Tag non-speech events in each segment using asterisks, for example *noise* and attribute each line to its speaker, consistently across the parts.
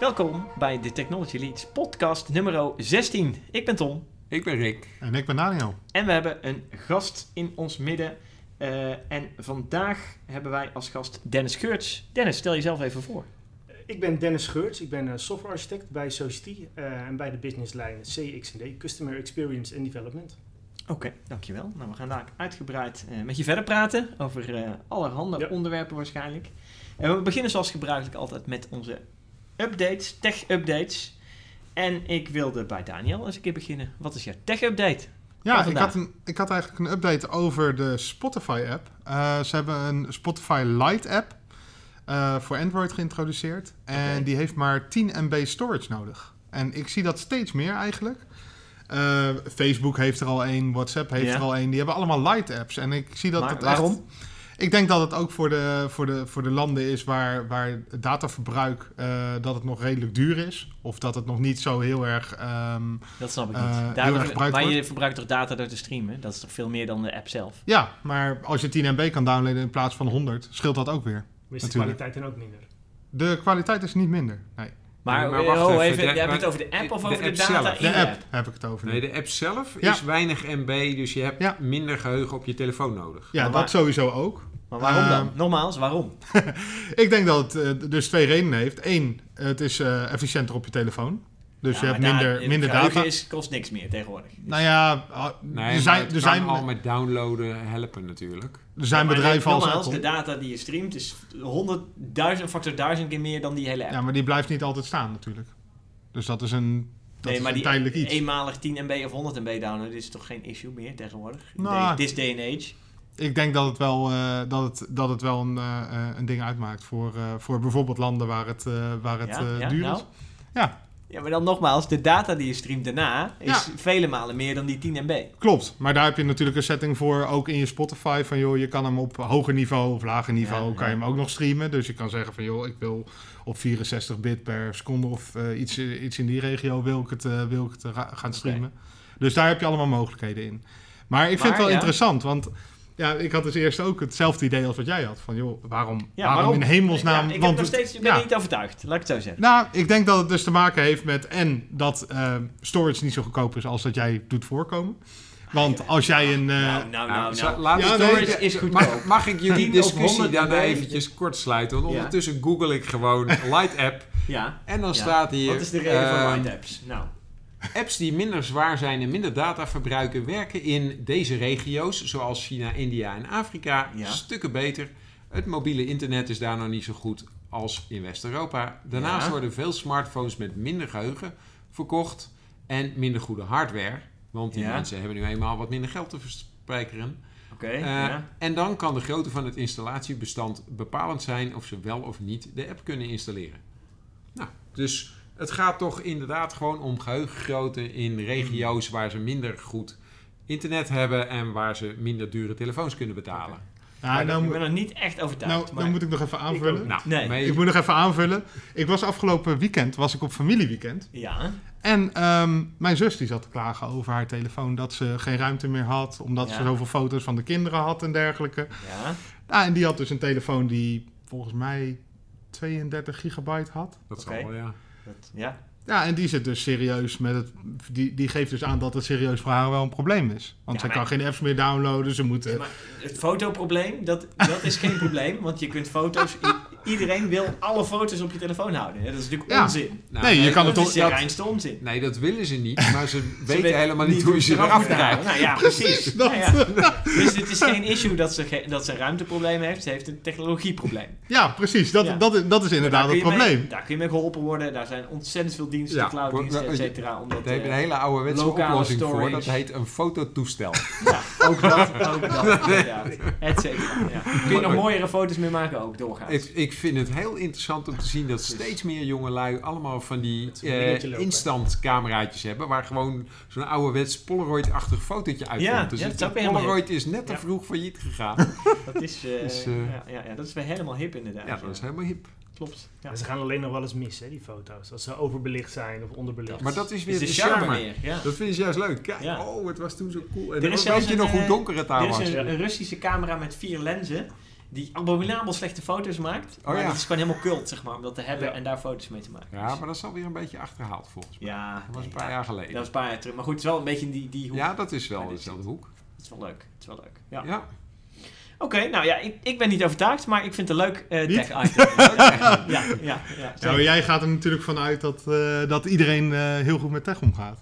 Speaker 1: Welkom bij de Technology Leads podcast nummer 16. Ik ben Tom
Speaker 2: Ik ben Rick.
Speaker 3: En ik ben Daniel.
Speaker 1: en we hebben een gast in ons midden. Eh, en vandaag hebben wij als gast Dennis Geurts. Dennis, stel jezelf even voor.
Speaker 4: Ik ben Dennis Geurts, ik ben eh, softwarearchitect bij Society eh, en bij de businesslijn CXD, Customer Experience and Development.
Speaker 1: Oké, dankjewel. Nou, we gaan daar uitgebreid eh, met je verder praten over eh, allerhande
Speaker 4: Ja.
Speaker 1: onderwerpen waarschijnlijk. En we beginnen zoals gebruikelijk altijd met onze updates, tech-updates. En ik wilde bij Daniel eens een keer beginnen. Wat is jouw tech-update?
Speaker 3: Ja, ik
Speaker 1: vandaag.
Speaker 3: had, een, ik had eigenlijk een update over de Spotify-app. Eh, ze hebben een Spotify Lite-app eh, voor Android geïntroduceerd. En
Speaker 1: Oké.
Speaker 3: die heeft maar 10 MB storage nodig. En ik zie dat steeds meer eigenlijk. Eh, Facebook heeft er al één, WhatsApp heeft
Speaker 1: Ja.
Speaker 3: er al één. Die hebben allemaal Lite-apps. En ik zie dat
Speaker 1: Maar
Speaker 3: dat echt-
Speaker 1: waarom?
Speaker 3: Ik denk dat het ook voor de, voor de, voor de landen is waar, waar het dataverbruik eh, dat het nog redelijk duur is. Of dat het nog niet zo heel erg ehm,
Speaker 1: Dat snap ik niet.
Speaker 3: Eh, heel
Speaker 1: Daarom-
Speaker 3: erg gebruikt
Speaker 1: maar je
Speaker 3: wordt.
Speaker 1: verbruikt toch data door te streamen? Dat is toch veel meer dan de app zelf?
Speaker 3: Ja, maar als je 10 MB kan downloaden in plaats van 100, scheelt dat ook weer.
Speaker 4: Maar is de
Speaker 3: Natuurlijk.
Speaker 4: kwaliteit dan ook minder?
Speaker 3: De kwaliteit is niet minder. Nee,
Speaker 1: Maar,
Speaker 2: Nee, maar
Speaker 1: eh,
Speaker 2: wacht
Speaker 1: oh,
Speaker 2: even,
Speaker 1: even,
Speaker 2: de-
Speaker 1: jij hebt
Speaker 2: maar-
Speaker 1: het over de app of
Speaker 2: de
Speaker 1: over de,
Speaker 2: app
Speaker 1: data
Speaker 2: zelf.
Speaker 1: in
Speaker 3: de
Speaker 1: de app?
Speaker 3: app heb ik het over. nu.
Speaker 2: Nee, de app zelf
Speaker 3: Ja.
Speaker 2: is weinig MB, dus je hebt
Speaker 3: Ja.
Speaker 2: minder geheugen op je telefoon nodig.
Speaker 3: ja,
Speaker 1: maar waar-
Speaker 3: dat sowieso ook.
Speaker 1: Maar waarom dan?
Speaker 3: Ehm,
Speaker 1: Nogmaals, waarom?
Speaker 3: Ik denk dat het eh, dus twee redenen heeft. Eén, het is eh, efficiënter op je telefoon. Dus
Speaker 1: Ja,
Speaker 3: je hebt
Speaker 1: maar daar-
Speaker 3: minder,
Speaker 1: het
Speaker 3: minder
Speaker 1: geheugen
Speaker 3: data.
Speaker 1: Is, kost niks meer tegenwoordig.
Speaker 3: Nou ja, ah,
Speaker 2: Nee,
Speaker 3: er
Speaker 2: maar
Speaker 3: zijn,
Speaker 2: het
Speaker 3: er
Speaker 2: kan
Speaker 3: zijn,
Speaker 2: al met downloaden helpen natuurlijk.
Speaker 3: er zijn
Speaker 1: Maar
Speaker 3: bedrijven als
Speaker 1: nogmaals, de
Speaker 3: Apple.
Speaker 1: data die je streamt is honderdduizend, factor duizend keer meer dan die hele app.
Speaker 3: Ja, maar die blijft niet altijd staan natuurlijk. Dus dat is een, dat
Speaker 1: nee,
Speaker 3: is
Speaker 1: maar
Speaker 3: een
Speaker 1: die
Speaker 3: tijdelijk iets.
Speaker 1: eenmalig 10 MB of 100 MB downloaden is toch geen issue meer tegenwoordig? In
Speaker 3: Nou.
Speaker 1: de- This day and age.
Speaker 3: Ik denk dat het wel, eh, dat het, dat het wel een, eh, eh, een ding uitmaakt voor, eh, voor bijvoorbeeld landen waar het, eh, waar het eh, duur is.
Speaker 1: nou?
Speaker 3: Ja.
Speaker 1: Ja, maar dan nogmaals, de data die je streamt daarna is
Speaker 3: Ja.
Speaker 1: vele malen meer dan die 10 MB.
Speaker 3: Klopt, maar daar heb je natuurlijk een setting voor, ook in je Spotify, van joh, je kan hem op hoger niveau of lager niveau,
Speaker 1: Ja,
Speaker 3: kan
Speaker 1: ja.
Speaker 3: je hem ook nog streamen. Dus je kan zeggen van joh, ik wil op 64 bit per seconde of eh, iets, eh, iets in die regio wil ik het, eh, wil ik het eh, ra- gaan streamen. Dus daar heb je allemaal mogelijkheden in. Maar ik vind
Speaker 1: Maar,
Speaker 3: het wel
Speaker 1: ja.
Speaker 3: interessant, want ja, ik had dus eerst ook hetzelfde idee als wat jij had. Van joh, waarom,
Speaker 1: Ja,
Speaker 3: waarom,
Speaker 1: waarom?
Speaker 3: in hemelsnaam?
Speaker 1: Ja, ik
Speaker 3: want
Speaker 1: heb nog
Speaker 3: het-
Speaker 1: steeds, ik ben
Speaker 3: ja.
Speaker 1: niet overtuigd, laat ik het zo zeggen.
Speaker 3: Nou, ik denk dat het dus te maken heeft met en dat eh, storage niet zo goedkoop is als dat jij doet voorkomen. Want als jij een... eh,
Speaker 1: nou, nou, nou,
Speaker 2: Zo-
Speaker 1: nou.
Speaker 2: laat
Speaker 3: Ja,
Speaker 2: het
Speaker 3: nee,
Speaker 2: door-
Speaker 1: ja, is goed.
Speaker 2: Mag, mag ik jullie
Speaker 1: 10 of
Speaker 2: discussie
Speaker 1: 100
Speaker 2: daarna
Speaker 1: MB?
Speaker 2: eventjes kort sluiten? Want
Speaker 1: Ja.
Speaker 2: ondertussen google ik gewoon Light App
Speaker 1: Ja.
Speaker 2: en dan
Speaker 1: Ja.
Speaker 2: staat hier...
Speaker 1: Wat is de reden
Speaker 2: ehm,
Speaker 1: van mind apps? Nou,
Speaker 2: Apps die minder zwaar zijn en minder data verbruiken werken in deze regio's, zoals China, India en Afrika,
Speaker 1: Ja.
Speaker 2: stukken beter. Het mobiele internet is daar nog niet zo goed als in West-Europa. Daarnaast
Speaker 1: Ja.
Speaker 2: worden veel smartphones met minder geheugen verkocht en minder goede hardware, want die
Speaker 1: Ja.
Speaker 2: mensen hebben nu eenmaal wat minder geld te verspijkeren.
Speaker 1: oké.
Speaker 2: Eh,
Speaker 1: ja.
Speaker 2: En dan kan de grootte van het installatiebestand bepalend zijn of ze wel of niet de app kunnen installeren. Nou, dus het gaat toch inderdaad gewoon om geheugengrootte in regio's waar ze minder goed internet hebben en waar ze minder dure telefoons kunnen betalen.
Speaker 3: ja, nou,
Speaker 1: ik
Speaker 3: moet-
Speaker 1: ben nog niet echt overtuigd.
Speaker 3: nou,
Speaker 1: maar-
Speaker 3: nou moet ik nog even aanvullen. Ik,
Speaker 2: Nou,
Speaker 1: Nee.
Speaker 2: mee-
Speaker 3: moet nog even aanvullen. Ik was afgelopen weekend was ik op familieweekend.
Speaker 1: Ja,
Speaker 3: En ehm, mijn zus die zat te klagen over haar telefoon dat ze geen ruimte meer had. Omdat
Speaker 1: Ja.
Speaker 3: ze zoveel foto's van de kinderen had en dergelijke.
Speaker 1: ja.
Speaker 3: Nou, en die had dus een telefoon die volgens mij 32 gigabyte had.
Speaker 2: dat zal
Speaker 1: Oké.
Speaker 2: wel, ja.
Speaker 1: Dat, ja.
Speaker 3: Ja, en die zit dus serieus met het. Die, die geeft dus aan dat het serieus voor haar wel een probleem is. Want
Speaker 1: Ja,
Speaker 3: zij
Speaker 1: maar-
Speaker 3: kan geen apps meer downloaden. Ze moet. eh,
Speaker 1: Maar het fotoprobleem, dat, dat is geen probleem. Want je kunt foto's... i- Iedereen wil alle foto's op je telefoon houden. hè. Dat is natuurlijk
Speaker 3: Ja.
Speaker 1: onzin.
Speaker 2: Nou,
Speaker 3: nee, je kan
Speaker 1: dat
Speaker 3: het
Speaker 1: is
Speaker 3: toch.
Speaker 1: de
Speaker 3: dat-
Speaker 1: reinste onzin.
Speaker 2: Nee, dat willen ze niet, maar *laughs* ze, weten
Speaker 1: weten
Speaker 2: helemaal niet hoe je ze
Speaker 1: eraf
Speaker 2: eraf
Speaker 1: moet
Speaker 2: krijgt.
Speaker 1: halen. Nou ja, precies.
Speaker 3: dat-
Speaker 1: Nou ja. Dus het is geen issue dat ze, ge- dat ze een ruimteprobleem heeft. Ze heeft een technologieprobleem.
Speaker 3: ja, precies. Dat,
Speaker 1: Ja.
Speaker 3: Dat, is- dat is inderdaad
Speaker 1: Daar kun
Speaker 3: het
Speaker 1: je mee-
Speaker 3: probleem.
Speaker 1: daar kun je mee geholpen worden. Daar zijn ontzettend veel diensten,
Speaker 2: Ja,
Speaker 1: clouddiensten,
Speaker 2: maar-
Speaker 1: et cetera. om dat,
Speaker 2: Daar heb je
Speaker 1: eh,
Speaker 2: een hele ouderwetse
Speaker 1: lokale
Speaker 2: oplossing voor,
Speaker 1: storage.
Speaker 2: dat heet een fototoestel.
Speaker 1: Ja, ook
Speaker 2: *laughs*
Speaker 1: dat, ook dat, inderdaad. Et cetera, ja. Kun je nog mooiere foto's mee maken ook, doorgaans.
Speaker 2: Ik, ik vind het heel interessant om te zien dat steeds meer jongelui allemaal van die
Speaker 4: zo'n dingetje
Speaker 2: eh,
Speaker 4: lopen.
Speaker 2: instant cameraatjes hebben. Waar gewoon zo'n ouderwets Polaroid-achtig fotootje uitkomt.
Speaker 1: Ja,
Speaker 2: dus
Speaker 1: ja,
Speaker 2: het-
Speaker 1: dat is ook weer helemaal
Speaker 2: Polaroid is net te
Speaker 1: Ja.
Speaker 2: vroeg failliet gegaan.
Speaker 1: dat, is, eh,
Speaker 2: Dus, eh,
Speaker 1: ja, ja, ja, dat is weer helemaal hip, inderdaad.
Speaker 2: ja, dat is
Speaker 1: ja.
Speaker 2: helemaal hip.
Speaker 1: Klopt. Ja.
Speaker 4: Maar Ze gaan alleen nog wel eens mis, hè, die foto's. Als ze overbelicht zijn of onderbelicht.
Speaker 2: Maar dat is weer
Speaker 1: Is
Speaker 2: de,
Speaker 1: de
Speaker 2: charme.
Speaker 1: charme meer, ja.
Speaker 2: Dat vind je juist leuk. Kijk,
Speaker 1: Ja.
Speaker 2: oh, het was toen zo cool.
Speaker 1: Er
Speaker 2: En dan
Speaker 1: is
Speaker 2: weet
Speaker 1: zelfs
Speaker 2: je
Speaker 1: een,
Speaker 2: nog hoe
Speaker 1: eh,
Speaker 2: donker het daar
Speaker 1: Dit is
Speaker 2: was.
Speaker 1: een, een Russische camera met vier lenzen. die abominabel slechte foto's maakt. maar
Speaker 2: Oh, ja.
Speaker 1: het is gewoon helemaal cult, zeg maar, om dat te hebben
Speaker 4: Ja.
Speaker 1: en daar foto's mee te maken.
Speaker 2: Ja, maar dat is alweer een beetje achterhaald volgens mij.
Speaker 1: ja,
Speaker 2: Dat was een
Speaker 1: nee,
Speaker 2: paar
Speaker 1: ja.
Speaker 2: jaar
Speaker 1: Dat
Speaker 2: geleden.
Speaker 1: was een paar jaar terug. Maar goed, het is wel een beetje in die, die hoek.
Speaker 2: ja, dat is wel
Speaker 1: Maar dit
Speaker 2: dezelfde hoek.
Speaker 1: Het is wel leuk. Het is wel leuk. Ja.
Speaker 2: Ja.
Speaker 1: Oké, nou ja, ik, ik ben niet overtuigd, maar ik vind het een leuk eh
Speaker 3: Niet?
Speaker 1: tech item. ja,
Speaker 2: *laughs*
Speaker 1: ja, ja,
Speaker 3: Ja, maar jij gaat er natuurlijk vanuit dat, eh, dat iedereen eh, heel goed met tech omgaat.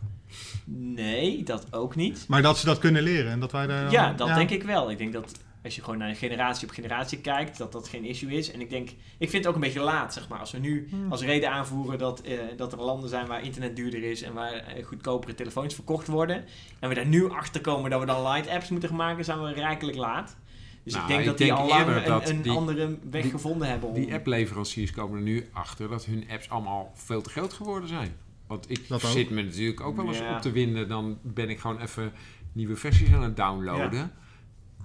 Speaker 1: Nee, dat ook niet.
Speaker 3: Maar dat ze dat kunnen leren en dat wij daar...
Speaker 1: Ja, dat denk ik wel. Ik denk dat als je gewoon naar generatie op generatie kijkt, dat dat geen issue is. En ik denk, ik vind het ook een beetje laat, zeg maar. Als we nu
Speaker 3: Hmm.
Speaker 1: als reden aanvoeren dat, eh, dat er landen zijn waar internet duurder is en waar eh, goedkopere telefoons verkocht worden. En we daar nu achter komen dat we dan light apps moeten gaan maken, zijn we rijkelijk laat. Dus
Speaker 2: Nou,
Speaker 1: ik denk
Speaker 2: ik
Speaker 1: dat
Speaker 2: denk
Speaker 1: die al lang
Speaker 2: eerder dat
Speaker 1: een, een
Speaker 2: die-
Speaker 1: andere weg
Speaker 2: die-
Speaker 1: gevonden hebben. Om,
Speaker 2: Die appleveranciers komen er nu achter dat hun apps allemaal veel te groot geworden zijn. Want ik
Speaker 3: Dat ook.
Speaker 2: zit me natuurlijk ook wel eens
Speaker 1: Ja.
Speaker 2: op te winden. Dan ben ik gewoon even nieuwe versies aan het downloaden.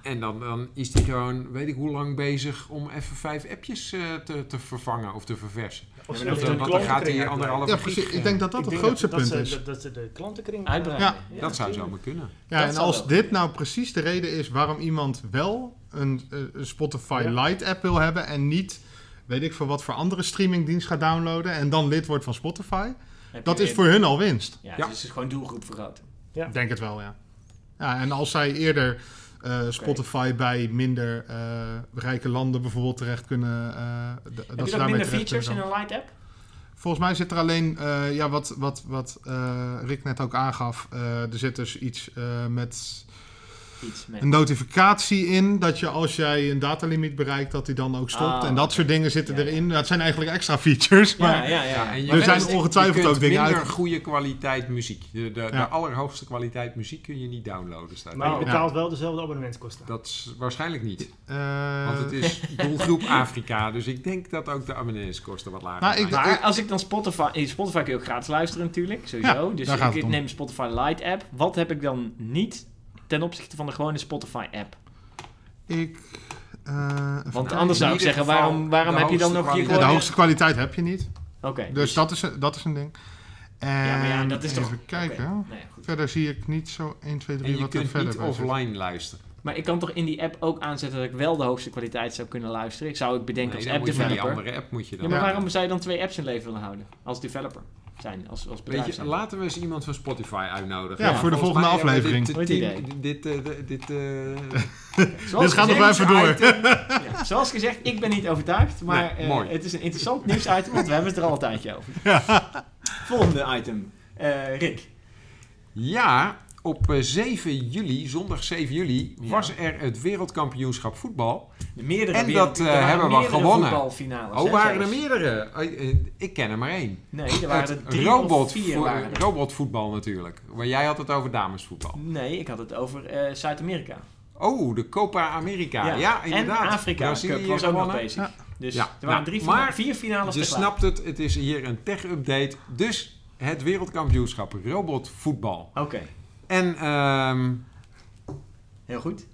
Speaker 2: En dan, dan is die gewoon, weet ik hoe lang, bezig om even vijf appjes eh, te, te vervangen of te verversen.
Speaker 4: Of ze
Speaker 1: Ja,
Speaker 4: de
Speaker 1: dat-
Speaker 2: want dan
Speaker 4: klantenkring
Speaker 2: gaat hij
Speaker 4: uitbreiden.
Speaker 2: anderhalf
Speaker 3: Ja, precies. Ik denk dat dat
Speaker 4: Ik
Speaker 3: het
Speaker 4: denk
Speaker 3: grootste
Speaker 4: dat-
Speaker 3: punt
Speaker 4: dat
Speaker 3: is.
Speaker 4: ze- Dat ze de klantenkring
Speaker 1: Uitbreiden.
Speaker 3: Ja,
Speaker 4: Ja,
Speaker 2: dat zou
Speaker 4: natuurlijk.
Speaker 2: zomaar kunnen.
Speaker 3: Ja,
Speaker 1: Dat
Speaker 3: en
Speaker 1: zou
Speaker 3: als
Speaker 1: wel
Speaker 3: dit
Speaker 1: kunnen.
Speaker 3: nou precies de reden is waarom iemand wel een, eh, een Spotify
Speaker 4: Ja.
Speaker 3: Lite app wil hebben en niet, weet ik veel wat voor andere streamingdienst gaat downloaden en dan lid wordt van Spotify,
Speaker 1: heb
Speaker 3: dat
Speaker 1: je
Speaker 3: is
Speaker 1: een-
Speaker 3: voor hun al winst.
Speaker 1: Ja,
Speaker 2: Ja.
Speaker 1: dus het is gewoon doelgroep vergroten.
Speaker 4: Ja.
Speaker 3: Ik denk het wel, ja. ja en als zij eerder eh, Spotify bij minder eh, rijke landen bijvoorbeeld terecht kunnen, eh, d-
Speaker 1: Heb
Speaker 3: dat
Speaker 1: je
Speaker 3: ze
Speaker 1: ook minder
Speaker 3: daarmee terecht kunnen
Speaker 1: features in
Speaker 3: komen.
Speaker 1: een light app?
Speaker 3: Volgens mij zit er alleen, eh, ja, wat, wat, wat eh, Rick net ook aangaf, eh, er zit dus iets eh, met
Speaker 1: Iets met...
Speaker 3: een notificatie in dat je als jij een datalimiet bereikt, dat die dan ook stopt.
Speaker 1: Ah,
Speaker 3: en dat soort dingen zitten
Speaker 1: Ja, ja.
Speaker 3: erin. Dat zijn eigenlijk extra features.
Speaker 1: Ja,
Speaker 3: Maar
Speaker 1: ja, ja.
Speaker 2: en je
Speaker 3: Er
Speaker 2: kunt-
Speaker 3: zijn ongetwijfeld
Speaker 2: je kunt
Speaker 3: ook dingen
Speaker 2: minder
Speaker 3: uit-
Speaker 2: goede kwaliteit muziek. De, de, de
Speaker 3: Ja.
Speaker 2: allerhoogste kwaliteit muziek kun je niet downloaden. Staat
Speaker 4: Maar je
Speaker 2: er.
Speaker 1: Oh.
Speaker 4: betaalt wel dezelfde abonnementskosten.
Speaker 2: Dat is waarschijnlijk niet.
Speaker 3: eh,
Speaker 2: Want het
Speaker 1: *laughs*
Speaker 2: is doelgroep Afrika. Dus ik denk dat ook de abonnementskosten wat lager
Speaker 3: Nou, ik
Speaker 2: zijn.
Speaker 3: dacht-
Speaker 1: Maar als ik dan Spotify... in Spotify kun je ook gratis luisteren natuurlijk, sowieso.
Speaker 3: Ja,
Speaker 1: dus
Speaker 3: daar gaat
Speaker 1: ik
Speaker 3: het om.
Speaker 1: neem Spotify Lite app. Wat heb ik dan niet ten opzichte van de gewone Spotify app?
Speaker 3: ik, eh, even
Speaker 1: Want
Speaker 3: kijken.
Speaker 1: anders zou ik
Speaker 2: in ieder
Speaker 1: zeggen,
Speaker 2: geval
Speaker 1: waarom, waarom
Speaker 2: de
Speaker 1: heb je dan
Speaker 2: hoogste
Speaker 1: nog je
Speaker 2: kwaliteit.
Speaker 3: Ja, de
Speaker 1: gewone-
Speaker 3: hoogste kwaliteit heb je niet.
Speaker 1: Oké.
Speaker 3: Dus dat is, een- dat is een ding. En
Speaker 1: ja, maar ja, dat is
Speaker 3: even
Speaker 1: toch...
Speaker 3: kijken.
Speaker 1: Oké, nou ja, goed.
Speaker 3: Verder zie ik niet zo 1, 2, 3
Speaker 2: en je
Speaker 3: wat er
Speaker 2: kunt
Speaker 3: verder
Speaker 2: niet
Speaker 3: bij zit.
Speaker 2: offline luisteren.
Speaker 1: Maar ik kan toch in die app ook aanzetten dat ik wel de hoogste kwaliteit zou kunnen luisteren? Ik zou het bedenken
Speaker 2: Nee,
Speaker 1: als
Speaker 2: dan
Speaker 1: app
Speaker 2: moet je die
Speaker 1: developer.
Speaker 2: andere app moet je
Speaker 1: Ja,
Speaker 2: dan.
Speaker 1: maar
Speaker 3: Ja.
Speaker 1: waarom zou je dan twee apps in leven willen houden? Als developer zijn, als, als bedrijf
Speaker 2: Weet je,
Speaker 1: zijn.
Speaker 2: laten we eens iemand van Spotify uitnodigen.
Speaker 3: Ja, voor de
Speaker 2: volgens
Speaker 3: volgende
Speaker 2: mij hebben we
Speaker 1: aflevering.
Speaker 2: Dit, dit, eh, dit, eh, dit, eh,
Speaker 1: Zoals
Speaker 3: *laughs* Dit gaat nog
Speaker 1: gezegd-
Speaker 3: wel even door.
Speaker 1: *laughs* Ja, zoals gezegd, ik ben niet overtuigd, maar
Speaker 2: Nee,
Speaker 1: eh,
Speaker 2: mooi.
Speaker 1: het is een interessant nieuwsitem, want we hebben het er al een tijdje
Speaker 2: *laughs*
Speaker 1: over. Volgende item. Eh, Rick.
Speaker 2: Ja, op eh, 7 juli, zondag 7 juli,
Speaker 1: Ja.
Speaker 2: was er het wereldkampioenschap voetbal.
Speaker 1: De meerdere
Speaker 2: En
Speaker 1: wereld-
Speaker 2: dat, eh,
Speaker 1: er waren
Speaker 2: hebben we
Speaker 1: meerdere
Speaker 2: gewonnen.
Speaker 1: voetbalfinales,
Speaker 2: Oh,
Speaker 1: hè,
Speaker 2: waren er
Speaker 1: zelfs.
Speaker 2: meerdere? Eh, eh, Ik ken er maar één.
Speaker 1: Nee, er waren er
Speaker 2: Het
Speaker 1: drie
Speaker 2: robot-
Speaker 1: of vier. Waren er.
Speaker 2: robotvoetbal natuurlijk. Maar jij had het over damesvoetbal.
Speaker 1: Nee, ik had het over eh, Zuid-Amerika.
Speaker 2: Oh, de Copa America. Ja, inderdaad.
Speaker 1: En Afrika
Speaker 2: Brazilië
Speaker 1: Cup was ook nog
Speaker 2: gewonnen.
Speaker 1: bezig.
Speaker 3: Ja.
Speaker 1: Dus
Speaker 2: Ja,
Speaker 1: er waren
Speaker 2: nou,
Speaker 1: drie fina-
Speaker 2: maar
Speaker 1: vier finales
Speaker 2: Je
Speaker 1: tegelijk.
Speaker 2: snapt het, het is hier een tech-update. Dus het wereldkampioenschap robotvoetbal.
Speaker 1: Oké,
Speaker 2: En ehm,
Speaker 1: heel goed.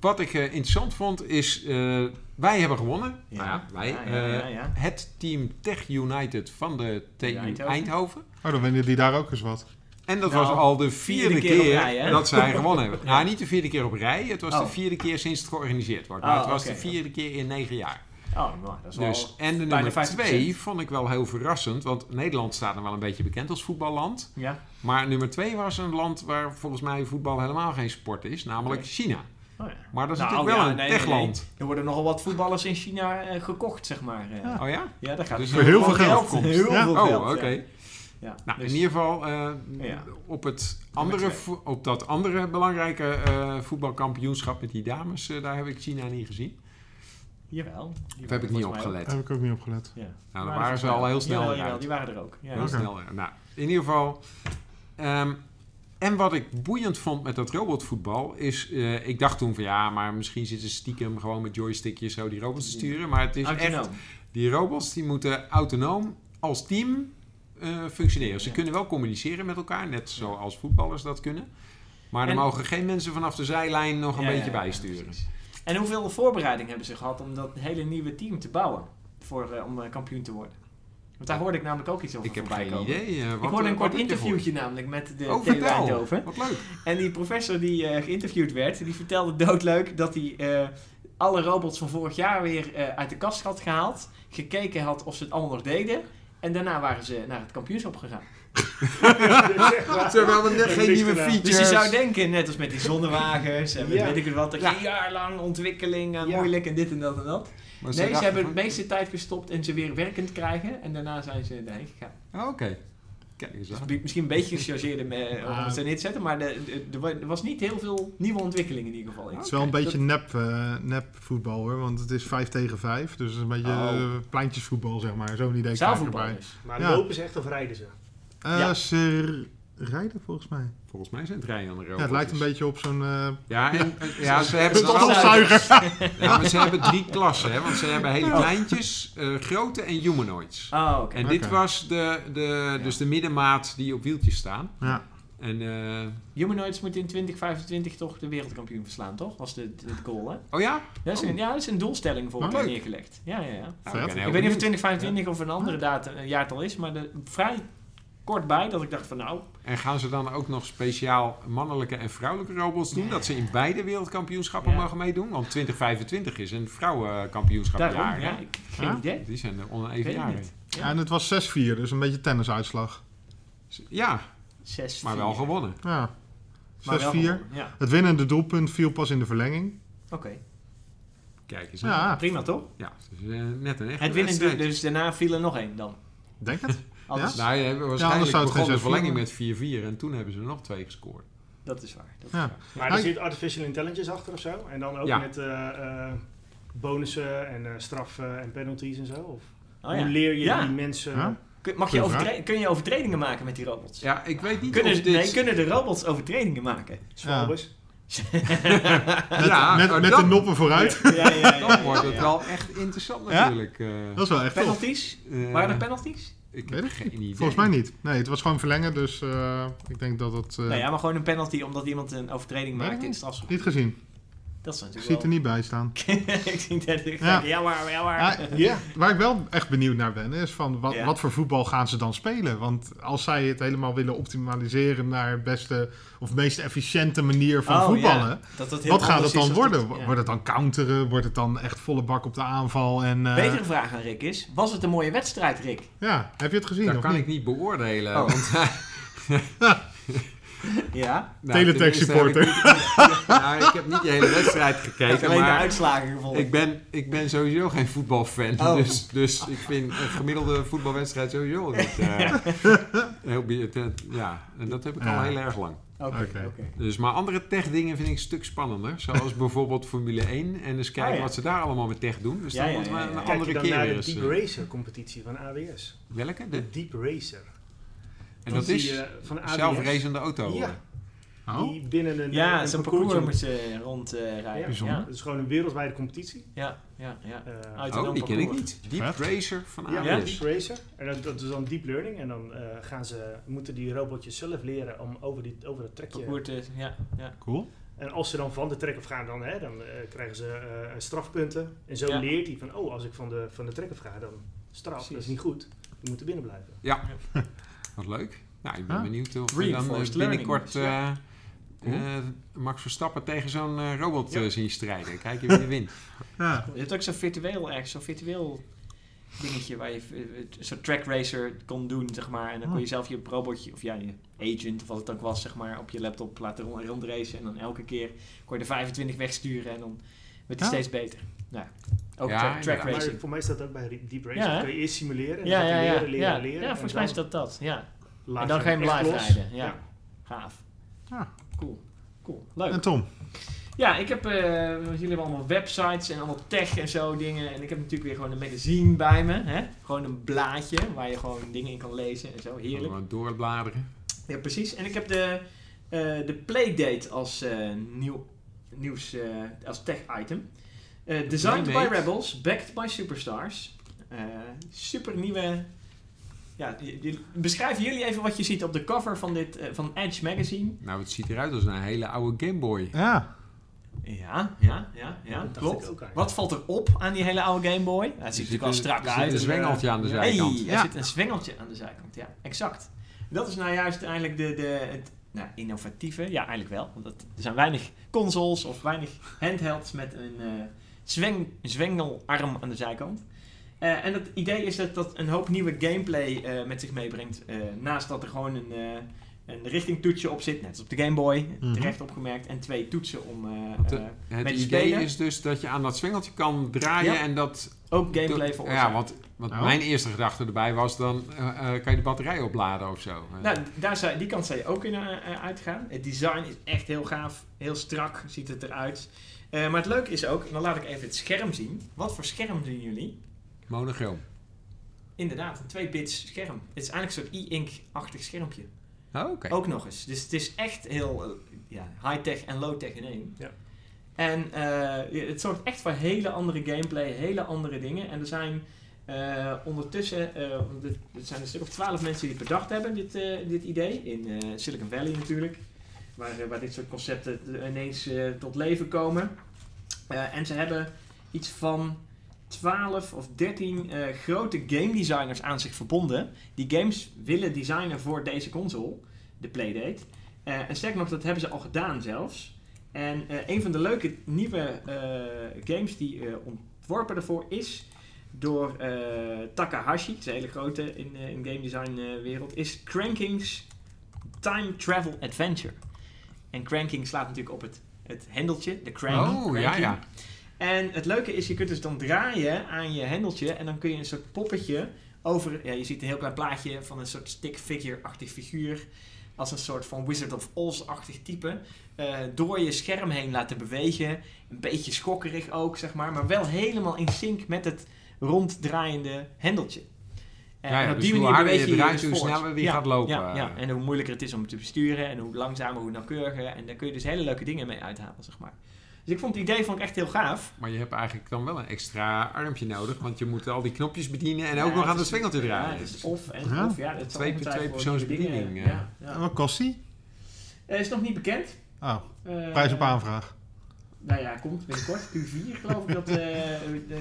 Speaker 2: wat ik eh, interessant vond is, eh, wij hebben gewonnen.
Speaker 1: Ja.
Speaker 2: Nou ja, wij.
Speaker 1: Ja, ja, ja,
Speaker 2: eh,
Speaker 1: ja.
Speaker 2: Het team Tech United van de TU Eindhoven.
Speaker 1: Eindhoven.
Speaker 3: Oh, dan winnen die daar ook eens wat.
Speaker 2: En dat
Speaker 1: Nou,
Speaker 2: was al de vierde,
Speaker 1: vierde
Speaker 2: keer,
Speaker 1: keer op rij, hè?
Speaker 2: dat zij gewonnen hebben.
Speaker 1: *laughs*
Speaker 2: Nou, niet de vierde keer op rij. Het was de
Speaker 1: Oh.
Speaker 2: vierde keer sinds het georganiseerd wordt.
Speaker 1: Oh,
Speaker 2: Maar het was
Speaker 1: oké.
Speaker 2: de vierde keer in negen jaar.
Speaker 1: Oh, nou, dat is wel...
Speaker 2: Dus, en de
Speaker 1: bijna
Speaker 2: nummer
Speaker 1: 50%.
Speaker 2: twee vond ik wel heel verrassend. Want Nederland staat nog wel een beetje bekend als voetballand.
Speaker 1: Ja.
Speaker 2: Maar nummer twee was een land waar volgens mij voetbal helemaal geen sport is. Namelijk
Speaker 1: Nee.
Speaker 2: China.
Speaker 1: Oh, ja.
Speaker 2: Maar dat is
Speaker 1: Nou,
Speaker 2: natuurlijk wel
Speaker 1: ja,
Speaker 2: een
Speaker 1: nee, nee,
Speaker 2: techland.
Speaker 1: Er worden nogal wat voetballers in China eh, gekocht, zeg maar. eh.
Speaker 3: Ja.
Speaker 2: Oh ja?
Speaker 1: Ja, dat gaat
Speaker 2: Dus
Speaker 1: het
Speaker 3: voor heel
Speaker 1: gewoon
Speaker 3: veel geld
Speaker 2: komt.
Speaker 1: Heel
Speaker 3: Ja.
Speaker 1: veel
Speaker 2: Oh,
Speaker 1: geld,
Speaker 2: oké.
Speaker 1: ja. Ja.
Speaker 2: Nou,
Speaker 1: Dus-
Speaker 2: in ieder geval eh,
Speaker 1: Ja.
Speaker 2: op, het andere,
Speaker 1: twee.
Speaker 2: vo- op dat andere belangrijke eh, voetbalkampioenschap met die dames, eh, daar heb ik China niet gezien.
Speaker 1: Jawel. Die
Speaker 2: Of heb ik
Speaker 1: waren
Speaker 2: niet
Speaker 1: volgens mij
Speaker 2: opgelet.
Speaker 3: Daar heb ik ook niet op gelet.
Speaker 1: ook- Ja.
Speaker 2: Nou, dan waren ze al heel snel
Speaker 1: Jawel,
Speaker 2: eruit.
Speaker 1: jawel, die waren er ook. Ja.
Speaker 2: Heel
Speaker 3: Oké.
Speaker 2: snel eruit. Nou, in ieder geval. ehm, en wat ik boeiend vond met dat robotvoetbal is, eh, ik dacht toen van ja, maar misschien zitten ze stiekem gewoon met joystickjes zo die robots te sturen. Maar het is echt,
Speaker 1: Autonoom.
Speaker 2: die robots die moeten autonoom als team eh, functioneren. Ze
Speaker 1: Ja.
Speaker 2: kunnen wel communiceren met elkaar, net zoals voetballers dat kunnen. Maar er
Speaker 1: En-
Speaker 2: mogen geen mensen vanaf de zijlijn nog een
Speaker 1: Ja, ja,
Speaker 2: beetje
Speaker 1: ja,
Speaker 2: bijsturen.
Speaker 1: precies. En hoeveel voorbereiding hebben ze gehad om dat hele nieuwe team te bouwen? Voor, eh, om eh, kampioen te worden? Want daar hoorde ik namelijk ook iets over
Speaker 2: ik heb
Speaker 1: voorbij
Speaker 2: geen
Speaker 1: komen.
Speaker 2: idee. eh,
Speaker 1: Ik
Speaker 2: wat-
Speaker 1: hoorde een
Speaker 2: wat
Speaker 1: kort
Speaker 2: heb je
Speaker 1: interviewtje eh, namelijk met de
Speaker 2: voor- Oh,
Speaker 1: TU
Speaker 2: vertel.
Speaker 1: Eindhoven.
Speaker 2: Wat leuk.
Speaker 1: En die professor die eh, geïnterviewd werd, die vertelde doodleuk dat hij eh, alle robots van vorig jaar weer eh, uit de kast had gehaald. Gekeken had of ze het allemaal nog deden. En daarna waren ze naar het kampioenschap gegaan.
Speaker 2: Ze hebben wel net geen
Speaker 4: Niks
Speaker 2: nieuwe
Speaker 4: gedaan.
Speaker 2: features.
Speaker 1: Dus je zou denken, net als met die zonnewagens en met
Speaker 4: Ja.
Speaker 1: weet ik het wat, dat je
Speaker 2: Ja.
Speaker 1: een jaar lang ontwikkeling en
Speaker 4: Ja.
Speaker 1: moeilijk en dit en dat en dat.
Speaker 2: Maar ze
Speaker 1: nee, ze
Speaker 2: dachten
Speaker 1: hebben de
Speaker 2: van-
Speaker 1: meeste tijd gestopt en ze weer werkend krijgen en daarna zijn ze daarheen gegaan.
Speaker 2: Oh, Oké. Kijk eens
Speaker 1: Dus
Speaker 2: aan.
Speaker 1: bi- misschien een beetje gechargeerde me- om
Speaker 3: Ah.
Speaker 1: het erin te zetten, maar de- de- de wa- er was niet heel veel nieuwe ontwikkelingen in ieder geval.
Speaker 2: Ah.
Speaker 1: in.
Speaker 3: Het is wel een
Speaker 2: Oké,
Speaker 3: beetje nep, eh, nep voetbal hoor, want het is 5 tegen 5. Dus een beetje
Speaker 1: Oh.
Speaker 3: eh, pleintjesvoetbal, zeg maar. Zo'n idee krijg ik
Speaker 1: Zaalvoetbal
Speaker 3: erbij.
Speaker 1: dus.
Speaker 4: Maar
Speaker 3: Ja.
Speaker 4: lopen ze echt of rijden ze?
Speaker 3: Eh,
Speaker 1: Ja.
Speaker 3: Ze rijden volgens mij.
Speaker 2: Volgens mij zijn het rijen aan de robots.
Speaker 3: Ja, het lijkt een beetje op zo'n eh,
Speaker 2: Ja, en, ja ze hebben
Speaker 1: Dat
Speaker 2: wel-
Speaker 1: is
Speaker 3: stofzuiger.
Speaker 2: Ja, maar ze hebben drie klassen, hè? want ze hebben hele kleintjes, eh, grote en humanoids.
Speaker 1: Oh, oké.
Speaker 2: En
Speaker 3: Oké.
Speaker 2: dit was de, de, dus de middenmaat die op wieltjes staan.
Speaker 3: Ja.
Speaker 2: En, eh,
Speaker 1: Humanoids moet in 2025 toch de wereldkampioen verslaan, toch? Was de, de- het goal, hè?
Speaker 2: oh ja?
Speaker 1: Dat is een, ja, dat is een doelstelling voor
Speaker 3: Oh,
Speaker 1: elkaar
Speaker 2: leuk.
Speaker 1: neergelegd. Ja, ja, ja.
Speaker 2: Nou, ik ben heel
Speaker 1: ik weet niet of
Speaker 2: benieuwd.
Speaker 1: het 2025 of een andere datum, een jaartal is, maar er vrij kort bij dat ik dacht van nou,
Speaker 2: En gaan ze dan ook nog speciaal mannelijke en vrouwelijke robots doen? Dat ze in beide wereldkampioenschappen
Speaker 1: Ja.
Speaker 2: mogen meedoen? Want 2025 is een vrouwenkampioenschap
Speaker 1: daarom,
Speaker 2: jaar.
Speaker 1: ja,
Speaker 2: hè?
Speaker 1: ik, geen
Speaker 3: Ja?
Speaker 1: idee.
Speaker 2: Die zijn de
Speaker 1: Ik
Speaker 2: oneven
Speaker 1: weet het
Speaker 2: jaren.
Speaker 1: niet.
Speaker 3: Ja, en het was 6-4, dus een beetje tennisuitslag.
Speaker 2: Ja,
Speaker 1: Zes,
Speaker 2: maar wel
Speaker 1: vier.
Speaker 2: gewonnen.
Speaker 3: Ja. 6-4.
Speaker 1: Maar wel gewonnen, Ja,
Speaker 3: Het winnende doelpunt viel pas in de verlenging.
Speaker 1: oké.
Speaker 2: Kijk eens. aan.
Speaker 3: Ja,
Speaker 1: Prima toch?
Speaker 2: Ja, het is eh, net een echte
Speaker 1: Het winnen,
Speaker 2: wedstrijd.
Speaker 1: dus daarna viel er nog één dan. dus-
Speaker 3: denk het.
Speaker 1: Anders,
Speaker 2: Nou, ja,
Speaker 3: anders
Speaker 2: waarschijnlijk
Speaker 3: zou het
Speaker 2: begon de
Speaker 3: geen
Speaker 2: verlenging
Speaker 3: 6-4
Speaker 2: met 4-4 en toen hebben ze er nog twee gescoord.
Speaker 1: Dat is waar. Dat is
Speaker 3: Ja.
Speaker 1: waar.
Speaker 4: Maar
Speaker 3: Hij-
Speaker 4: er zit artificial intelligence achter of zo? En dan ook
Speaker 2: Ja.
Speaker 4: met eh, eh, bonussen en eh, straffen en penalties en zo? Of
Speaker 1: Oh, ja.
Speaker 4: Hoe leer je
Speaker 1: Ja.
Speaker 4: die mensen?
Speaker 3: Ja.
Speaker 1: Kun, mag je
Speaker 3: Goeie vraag.
Speaker 1: overtre- kun je overtredingen maken met die robots?
Speaker 2: Ja, ik weet niet
Speaker 1: Kunnen,
Speaker 2: of
Speaker 1: ze-
Speaker 2: dit...
Speaker 1: nee, kunnen de robots overtredingen maken?
Speaker 4: Zwalbes.
Speaker 3: Met,
Speaker 2: Ja,
Speaker 3: met,
Speaker 2: maar
Speaker 3: met
Speaker 2: dat-
Speaker 3: de noppen vooruit.
Speaker 1: Ja, ja, ja, ja,
Speaker 2: Dan wordt het
Speaker 1: ja.
Speaker 2: wel echt interessant
Speaker 3: Ja?
Speaker 2: natuurlijk. eh.
Speaker 3: Dat is wel echt tof.
Speaker 1: Penalties?
Speaker 2: Eh,
Speaker 1: Waren er penalties?
Speaker 2: Ik
Speaker 3: Weet
Speaker 2: heb
Speaker 3: ik
Speaker 2: geen idee.
Speaker 3: Volgens mij niet. Nee, het was gewoon verlengen, dus eh, ik denk dat het eh,
Speaker 1: nou ja, maar gewoon een penalty omdat iemand een overtreding
Speaker 3: Nee,
Speaker 1: maakt in
Speaker 3: niet.
Speaker 1: het strafschop.
Speaker 3: niet gezien.
Speaker 1: Dat is
Speaker 3: Ik
Speaker 1: natuurlijk
Speaker 3: zie het er
Speaker 1: wel... *laughs*
Speaker 3: niet bij staan.
Speaker 1: ik zie dat ik
Speaker 3: Ja.
Speaker 1: denk, ja waar, ja waar.
Speaker 3: Ja,
Speaker 4: Ja.
Speaker 3: Waar ik wel echt benieuwd naar ben, is van wat,
Speaker 1: Ja.
Speaker 3: wat voor voetbal gaan ze dan spelen? Want als zij het helemaal willen optimaliseren naar beste of meest efficiënte manier van
Speaker 1: Oh,
Speaker 3: voetballen.
Speaker 1: ja. Dat dat heel
Speaker 3: Wat gaat het
Speaker 1: anders is
Speaker 3: dan
Speaker 1: als
Speaker 3: worden?
Speaker 1: dat- ja.
Speaker 3: Wordt het dan counteren? Wordt het dan echt volle bak op de aanval? En, eh,
Speaker 1: Betere vraag aan Rick is: was het een mooie wedstrijd,
Speaker 2: *laughs*
Speaker 1: Rick?
Speaker 3: Ja, heb je het gezien?
Speaker 2: Dat
Speaker 3: of
Speaker 2: kan
Speaker 3: niet?
Speaker 2: ik niet beoordelen.
Speaker 1: Oh.
Speaker 2: Want, *laughs*
Speaker 1: Ja.
Speaker 2: nou,
Speaker 3: Teletext
Speaker 2: tenminste heb ik
Speaker 3: supporter.
Speaker 2: niet- nou, ik heb niet de hele wedstrijd
Speaker 1: Ik heb
Speaker 2: gekeken,
Speaker 1: alleen de
Speaker 2: maar
Speaker 1: uitslagen gevonden.
Speaker 2: ik ben, ik ben sowieso geen voetbalfan.
Speaker 1: Oh.
Speaker 2: Dus, dus ik vind een gemiddelde voetbalwedstrijd sowieso niet... eh, heel bi- het, het- ja, en dat heb ik al
Speaker 3: Ja.
Speaker 2: heel erg lang.
Speaker 1: Oké,
Speaker 3: Oké.
Speaker 1: oké.
Speaker 2: Dus, maar andere tech-dingen vind ik een stuk spannender.
Speaker 1: *laughs*
Speaker 2: Zoals bijvoorbeeld Formule 1. En eens kijken
Speaker 1: Oh, ja.
Speaker 2: wat ze daar allemaal met tech doen. Dus
Speaker 1: Ja,
Speaker 2: dan
Speaker 1: ja,
Speaker 2: moeten we
Speaker 1: ja, ja.
Speaker 2: een
Speaker 1: Kijk je
Speaker 4: Kijk
Speaker 2: andere
Speaker 4: je dan
Speaker 2: keer
Speaker 4: naar
Speaker 2: weer
Speaker 4: de
Speaker 2: eens...
Speaker 4: Deep
Speaker 2: eh,
Speaker 4: Racer competitie van AWS.
Speaker 2: Welke? De,
Speaker 4: De Deep Racer.
Speaker 2: en dat
Speaker 4: zie
Speaker 2: is
Speaker 1: eh,
Speaker 4: je van AWS.
Speaker 2: zelfracende auto.
Speaker 4: Ja.
Speaker 3: Oh?
Speaker 4: Die binnen een, eh,
Speaker 1: Ja,
Speaker 4: een
Speaker 1: zo'n
Speaker 4: parcoursje
Speaker 1: parcours eh, moet
Speaker 4: moet-
Speaker 1: ze rondrijden.
Speaker 3: Bijzonder.
Speaker 1: ja,
Speaker 4: Het is gewoon een wereldwijde competitie.
Speaker 1: ja, ja, ja.
Speaker 4: Eh,
Speaker 1: Uit en
Speaker 2: Oh,
Speaker 1: dan
Speaker 2: die ken ik
Speaker 1: parcours.
Speaker 2: niet. Deep
Speaker 3: Vet.
Speaker 2: Racer van
Speaker 4: ja,
Speaker 2: AWS.
Speaker 1: ja.
Speaker 4: Deep Racer. En dat, dat is dan deep learning. En dan eh, gaan ze, moeten die robotjes zelf leren om over, die, over dat trekje
Speaker 1: Parcours te- eh, ja, ja.
Speaker 3: Cool.
Speaker 4: En als ze dan van de trek af gaan, dan, hè, dan eh, krijgen ze eh, strafpunten. En zo
Speaker 1: Ja.
Speaker 4: leert hij van, oh, als ik van de, van de trek af ga, dan straf.
Speaker 1: Precies.
Speaker 4: Dat is niet goed. We moeten binnen blijven.
Speaker 2: Wat leuk. Nou, ik ben
Speaker 3: Ja.
Speaker 2: benieuwd of we dan eh,
Speaker 1: Reinforced learning.
Speaker 2: binnenkort eh,
Speaker 1: Ja.
Speaker 2: eh, Max Verstappen tegen zo'n eh, robot
Speaker 1: Ja.
Speaker 2: eh, zien strijden. Kijken wie er wint.
Speaker 3: Ja.
Speaker 1: Je hebt ook zo'n virtueel, echt zo'n virtueel dingetje waar je eh, eh, zo'n track racer kon doen, zeg maar. En dan kon je zelf je robotje, of ja, je agent, of wat het ook was, zeg maar, op je laptop laten rond- rondracen. En dan elke keer kon je er 25 wegsturen en dan werd hij
Speaker 3: Ja.
Speaker 1: steeds beter. Nou, ook
Speaker 2: Ja,
Speaker 1: track, track
Speaker 2: inderdaad.
Speaker 4: Maar
Speaker 1: racing.
Speaker 4: voor mij staat dat ook bij Deep Racer.
Speaker 1: Ja, hè?
Speaker 4: Dan kan je eerst simuleren en
Speaker 1: Ja,
Speaker 4: dan
Speaker 1: ja, ja.
Speaker 4: leren, leren,
Speaker 1: ja.
Speaker 4: leren.
Speaker 1: ja,
Speaker 4: en
Speaker 1: volgens mij is
Speaker 4: dan
Speaker 1: dat dat. Ja.
Speaker 4: laat
Speaker 1: en dan ga je hem
Speaker 4: echt
Speaker 1: live
Speaker 4: los.
Speaker 1: rijden. Ja.
Speaker 4: Ja.
Speaker 1: Gaaf.
Speaker 3: Ja.
Speaker 1: Cool. Cool. Leuk.
Speaker 3: En Tom?
Speaker 1: Ja, ik heb, eh, jullie hebben allemaal websites en allemaal tech en zo dingen. En ik heb natuurlijk weer gewoon een magazine bij me. Hè? Gewoon een blaadje waar je gewoon dingen in kan lezen en zo. *laughs* Heerlijk.
Speaker 2: Gewoon doorbladeren.
Speaker 1: Ja, precies. En ik heb de, eh, de Playdate als eh, nieuw, nieuws, eh, als tech item. Eh, designed by
Speaker 2: Playdate.
Speaker 1: Rebels, backed by Superstars. Eh, super nieuwe... Ja, j- j- beschrijven jullie even wat je ziet op de cover van, dit, eh, van Edge magazine.
Speaker 2: Nou, het ziet eruit als een hele oude Game Boy.
Speaker 3: Ja.
Speaker 1: Ja, ja, ja, ja,
Speaker 4: dat
Speaker 1: klopt.
Speaker 4: dacht ik ook eigenlijk.
Speaker 1: Wat valt er op aan die hele oude Game Boy?
Speaker 2: Dus
Speaker 1: Hij ziet er wel strak
Speaker 2: Er zit een
Speaker 1: uit. eh.
Speaker 2: zwengeltje aan de
Speaker 4: Ja.
Speaker 1: Hey,
Speaker 2: zijkant.
Speaker 1: er
Speaker 3: Ja.
Speaker 1: zit een zwengeltje aan de zijkant, ja, exact. Dat is nou juist eigenlijk de, de, het nou, innovatieve, ja eigenlijk wel, want dat, er zijn weinig consoles of weinig handhelds met een, eh, zweng, zwengelarm aan de zijkant. Eh, en het idee is dat dat een hoop nieuwe gameplay eh, met zich meebrengt. Eh, naast dat er gewoon een, eh een richtingtoetje op zit, net als op de Game Boy,
Speaker 3: Mhm.
Speaker 1: terecht opgemerkt. En twee toetsen om eh,
Speaker 2: Want, eh,
Speaker 1: eh,
Speaker 2: Het
Speaker 1: met
Speaker 2: idee
Speaker 1: spelen.
Speaker 2: is dus dat je aan dat swengeltje kan draaien
Speaker 1: Ja.
Speaker 2: en dat...
Speaker 1: ook gameplay voor ons.
Speaker 2: Ja, want, want
Speaker 3: Nou.
Speaker 2: mijn eerste gedachte erbij was dan eh, eh, kan je de batterij opladen of zo. Eh,
Speaker 1: Nou, daar zou, die kant zou je ook in eh, eh, uitgaan. Het design is echt heel gaaf, heel strak ziet het eruit. Eh, maar het leuke is ook, en dan laat ik even het scherm zien. Wat voor scherm zien jullie?
Speaker 2: Monochroom.
Speaker 1: Inderdaad, een 2 bits scherm. Het is eigenlijk een soort e-ink-achtig schermpje.
Speaker 2: Oh, Oké.
Speaker 1: Ook nog eens. Dus het is echt heel eh, ja, high-tech en low-tech in één.
Speaker 4: Ja.
Speaker 1: En eh, het zorgt echt voor hele andere gameplay, hele andere dingen. En er zijn eh, ondertussen, eh, want er er zijn een stuk of twaalf mensen die het bedacht hebben, dit, eh, dit idee. In eh, Silicon Valley natuurlijk. Waar, eh, waar dit soort concepten eh, ineens eh, tot leven komen. Eh, en ze hebben iets van 12 of 13 eh, grote game designers aan zich verbonden. Die games willen designen voor deze console de Playdate. Eh, en sterker nog, dat hebben ze al gedaan zelfs. En eh, een van de leuke nieuwe eh, games die eh, ontworpen daarvoor is door eh, Takahashi, dat is een hele grote in, eh, in game design eh, wereld, is Crankings Time Travel Adventure. En cranking slaat natuurlijk op het, het hendeltje, de crank.
Speaker 2: Oh, ja,
Speaker 1: cranking.
Speaker 2: ja.
Speaker 1: En het leuke is, je kunt dus dan draaien aan je hendeltje en dan kun je een soort poppetje over... Ja, je ziet een heel klein plaatje van een soort stick figure-achtig figuur als een soort van Wizard of Oz-achtig type eh, door je scherm heen laten bewegen. Een beetje schokkerig ook, zeg maar, maar wel helemaal in sync met het ronddraaiende hendeltje. Eh,
Speaker 2: Ja, ja,
Speaker 1: en op
Speaker 2: dus
Speaker 1: die
Speaker 2: hoe
Speaker 1: manier
Speaker 2: harder je
Speaker 1: beweeg je
Speaker 2: draait,
Speaker 1: dus
Speaker 2: hoe
Speaker 1: voort.
Speaker 2: sneller die gaat lopen.
Speaker 1: Ja, ja, en hoe moeilijker het is om te besturen en hoe langzamer, hoe nauwkeuriger. En daar kun je dus hele leuke dingen mee uithalen, zeg maar. Dus ik vond het idee vond ik echt heel gaaf.
Speaker 2: Maar je hebt eigenlijk dan wel een extra armpje nodig, want je moet al die knopjes bedienen en ook
Speaker 1: Ja,
Speaker 2: nog
Speaker 1: het
Speaker 2: aan de
Speaker 1: is-
Speaker 2: swengeltje
Speaker 1: Ja,
Speaker 2: draaien.
Speaker 1: het is of en
Speaker 3: Ja.
Speaker 1: of. Ja, het zal
Speaker 2: Twee-
Speaker 1: ongetwijfeld
Speaker 2: twee persoonsbediening,
Speaker 1: nieuwe
Speaker 2: ja.
Speaker 1: dingen- Ja,
Speaker 3: En
Speaker 1: ja.
Speaker 3: wat kost die?
Speaker 1: Eh, is nog niet bekend.
Speaker 3: Oh,
Speaker 1: Eh,
Speaker 3: prijs op aanvraag.
Speaker 1: Nou ja, komt binnenkort. Q4 geloof ik dat, eh, eh,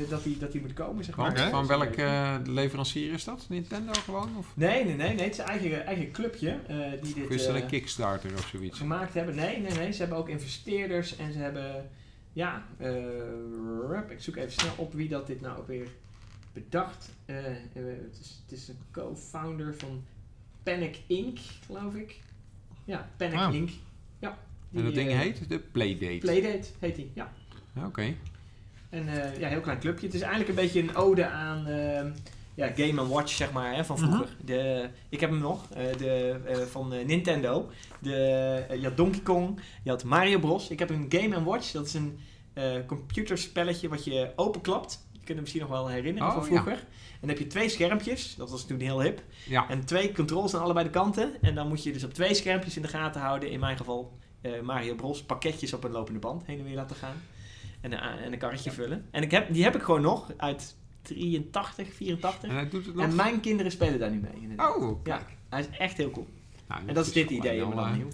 Speaker 1: dat, die, dat die moet komen, zeg maar.
Speaker 2: Want
Speaker 3: Oké.
Speaker 2: van welk eh, leverancier is dat? Nintendo gewoon? Of,
Speaker 1: Nee, nee, nee, nee. Het is een eigen, eigen clubje eh, die
Speaker 2: of
Speaker 1: dit
Speaker 2: is dat
Speaker 1: eh,
Speaker 2: een Kickstarter of zoiets?
Speaker 1: gemaakt hebben. Nee, nee, nee. Ze hebben ook investeerders en ze hebben... Ja, eh, rup, ik zoek even snel op wie dat dit nou ook weer bedacht. Eh, eh, het, is, het is een co-founder van Panic Inc., geloof ik. Ja, Panic
Speaker 3: Wauw.
Speaker 1: Inc. Ja.
Speaker 2: Ah. En dat
Speaker 1: Die,
Speaker 2: ding
Speaker 1: eh,
Speaker 2: heet de Playdate.
Speaker 1: Playdate heet hij, ja.
Speaker 2: Oké.
Speaker 1: En eh, ja, heel klein clubje. Het is eigenlijk een beetje een ode aan ehm, ja, Game Watch, zeg maar, hè, van
Speaker 2: Mhm.
Speaker 1: vroeger. de, ik heb hem nog, eh, de, eh, van eh, Nintendo. De, eh, je had Donkey Kong, je had Mario Bros. Ik heb een Game Watch, dat is een eh, computerspelletje wat je openklapt. Je kunt het misschien nog wel herinneren
Speaker 2: Oh,
Speaker 1: van
Speaker 2: ja.
Speaker 1: vroeger. En dan heb je twee schermpjes, dat was toen heel hip.
Speaker 2: Ja.
Speaker 1: En twee controls aan allebei de kanten. En dan moet je dus op twee schermpjes in de gaten houden. In mijn geval eh, Mario Bros. Pakketjes op een lopende band heen en weer laten gaan. En, een a- en een karretje vullen. En ik heb, die heb ik gewoon nog uit 83, 84.
Speaker 2: En hij doet het nog.
Speaker 1: En mijn kinderen spelen daar nu mee. inderdaad.
Speaker 2: Oh,
Speaker 1: Ja.
Speaker 2: kijk.
Speaker 1: Hij is echt heel cool.
Speaker 2: Nou,
Speaker 1: En dat is dit
Speaker 2: gewoon
Speaker 1: idee, maar
Speaker 2: wel,
Speaker 1: dan
Speaker 2: eh,
Speaker 1: nieuw.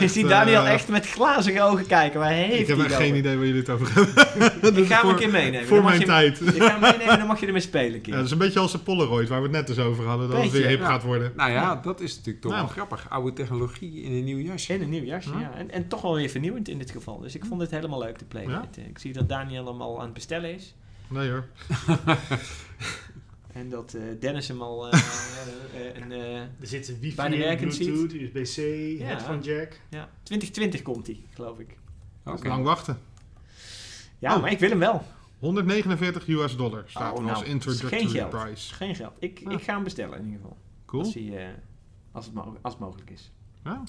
Speaker 1: *laughs* Ik zie
Speaker 3: eh,
Speaker 1: Daniel echt met glazige ogen kijken. Waar heeft
Speaker 3: Ik heb
Speaker 1: hij
Speaker 3: echt
Speaker 1: het
Speaker 3: geen
Speaker 1: over?
Speaker 3: idee waar jullie het over hebben. *laughs* Dat
Speaker 1: Ik
Speaker 3: is
Speaker 1: ga hem
Speaker 3: voor-
Speaker 1: een keer meenemen.
Speaker 3: Voor
Speaker 1: Dan mag
Speaker 3: mijn
Speaker 1: je hem-
Speaker 3: tijd.
Speaker 1: Ik ga hem meenemen, dan mag je ermee spelen,
Speaker 3: Ja,
Speaker 1: kind.
Speaker 3: dat is een beetje als de Polaroid waar we het net eens over hadden. Dat het
Speaker 1: Beetje,
Speaker 3: weer hip
Speaker 2: ja.
Speaker 3: gaat worden.
Speaker 2: Nou ja, dat is natuurlijk toch
Speaker 3: Nou.
Speaker 2: wel grappig. Oude technologie in een nieuw jasje.
Speaker 1: In een nieuw jasje,
Speaker 3: Ja.
Speaker 1: ja. En, en toch wel weer vernieuwend in dit geval. Dus ik vond het helemaal leuk, de Playdate. eh, Ik zie dat Daniel hem al aan het bestellen is.
Speaker 3: Nee hoor.
Speaker 1: En dat eh, Dennis hem al... eh, *laughs* eh, eh, een, eh,
Speaker 4: Er zitten wifi,
Speaker 1: Bijna werkend ziet.
Speaker 4: Bluetooth, USB-C,
Speaker 1: Ja.
Speaker 4: headphone jack.
Speaker 1: ja, 2020 komt hij, geloof ik.
Speaker 2: Oké.
Speaker 3: Lang wachten.
Speaker 1: Ja,
Speaker 3: Oh.
Speaker 1: maar ik wil hem wel.
Speaker 3: 149 US dollar staat
Speaker 1: Oh,
Speaker 3: er
Speaker 1: nou, dat
Speaker 3: als
Speaker 1: is geen
Speaker 3: introductory
Speaker 1: geld.
Speaker 3: price.
Speaker 1: Geen geld. Ah. Ik,
Speaker 3: Ja.
Speaker 1: ik ga hem bestellen in ieder geval.
Speaker 3: Cool.
Speaker 1: Als, hij, eh, als, het mo- als het mogelijk is.
Speaker 3: Ja.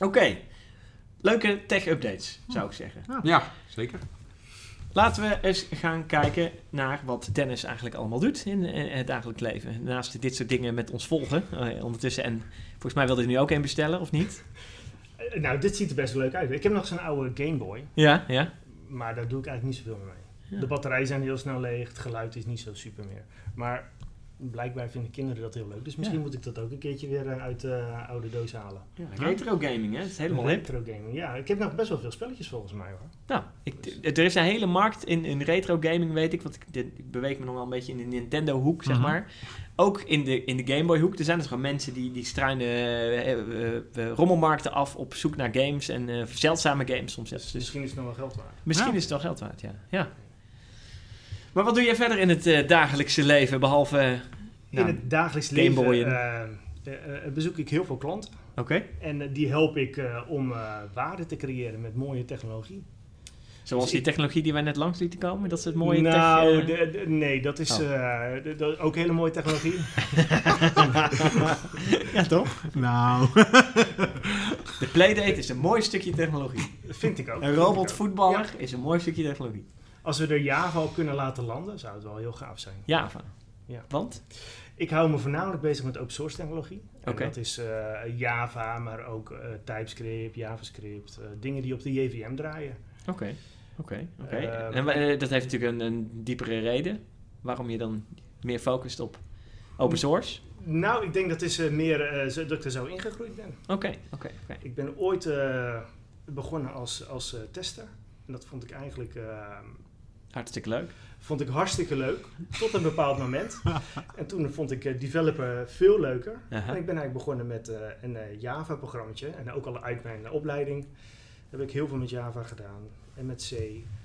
Speaker 1: Oké. Leuke tech-updates, zou ik zeggen.
Speaker 2: Ja, zeker.
Speaker 1: Laten we eens gaan kijken naar wat Dennis eigenlijk allemaal doet in eh, het dagelijks leven. Naast dit soort dingen met ons volgen eh, ondertussen. En volgens mij wilde je nu ook een bestellen, of niet?
Speaker 4: Eh, nou, dit ziet er best leuk uit. Ik heb nog zo'n oude Game Boy,
Speaker 1: Ja, ja.
Speaker 4: maar daar doe ik eigenlijk niet zoveel mee.
Speaker 1: Ja.
Speaker 4: De batterijen zijn heel snel leeg, het geluid is niet zo super meer. Maar blijkbaar vinden kinderen dat heel leuk. Dus misschien
Speaker 1: Ja.
Speaker 4: moet ik dat ook een keertje weer eh, uit de oude doos halen.
Speaker 1: ja retro gaming, hè? Het is helemaal hip.
Speaker 4: retro gaming. Ja, ik heb nog best wel veel spelletjes volgens mij hoor.
Speaker 1: Nou, ik, er is een hele markt in, in retro gaming, weet ik. Want ik, dit- ik beweeg me nog wel een beetje in de Nintendo-hoek, zeg
Speaker 3: Mhm.
Speaker 1: maar. Ook in de, in de Game Boy-hoek. Er zijn dus gewoon mensen die, die struinen eh, eh, eh, rommelmarkten af op zoek naar games. En eh, zeldzame games soms.
Speaker 4: Dus
Speaker 1: zelfs. Dus
Speaker 4: misschien is het nog wel geld waard.
Speaker 1: misschien
Speaker 3: Ja.
Speaker 1: is het wel geld waard, ja. ja. Maar wat doe jij verder in het eh, dagelijkse leven, behalve... eh, nou,
Speaker 4: in het dagelijks leven
Speaker 1: Gameboyen.
Speaker 4: eh, eh, bezoek ik heel veel klanten.
Speaker 1: Oké.
Speaker 4: En eh, die help ik eh, om eh, waarde te creëren met mooie technologie.
Speaker 1: Zoals
Speaker 4: Dus
Speaker 1: die
Speaker 4: ik-
Speaker 1: technologie die wij net langs lieten komen, dat is het mooie
Speaker 4: Nou,
Speaker 1: tech... eh,
Speaker 4: de- de- nee, dat is
Speaker 1: Oh.
Speaker 4: eh, de- de- ook hele mooie technologie. *laughs*
Speaker 1: ja, toch?
Speaker 3: Nou,
Speaker 1: De Playdate is een mooi stukje technologie.
Speaker 4: Vind ik ook.
Speaker 1: Een robotvoetballer is een mooi stukje technologie.
Speaker 4: Als we er Java op kunnen laten landen, zou het wel heel gaaf zijn.
Speaker 1: Java.
Speaker 4: Ja.
Speaker 1: Want?
Speaker 4: Ik hou me voornamelijk bezig met open source technologie. En
Speaker 1: Oké.
Speaker 4: Dat is eh, Java, maar ook eh, TypeScript, JavaScript. eh, dingen die op de JVM draaien.
Speaker 1: Oké, oké, oké.
Speaker 4: Ehm,
Speaker 1: en wa- eh, dat heeft natuurlijk een, een diepere reden waarom je dan meer focust op open source.
Speaker 4: Nou, ik denk dat is eh, meer eh, zo- dat ik er zo ingegroeid ben.
Speaker 1: Oké, oké, oké.
Speaker 4: Ik ben ooit eh, begonnen als, als eh, tester. En dat vond ik eigenlijk... eh,
Speaker 1: Hartstikke leuk.
Speaker 4: Vond ik hartstikke leuk, tot een bepaald
Speaker 2: *laughs*
Speaker 4: moment. En toen vond ik eh, developer veel leuker.
Speaker 1: Aha.
Speaker 4: En ik ben eigenlijk begonnen met eh, een eh, Java-programmaatje. En ook al uit mijn opleiding heb ik heel veel met Java gedaan. En met C.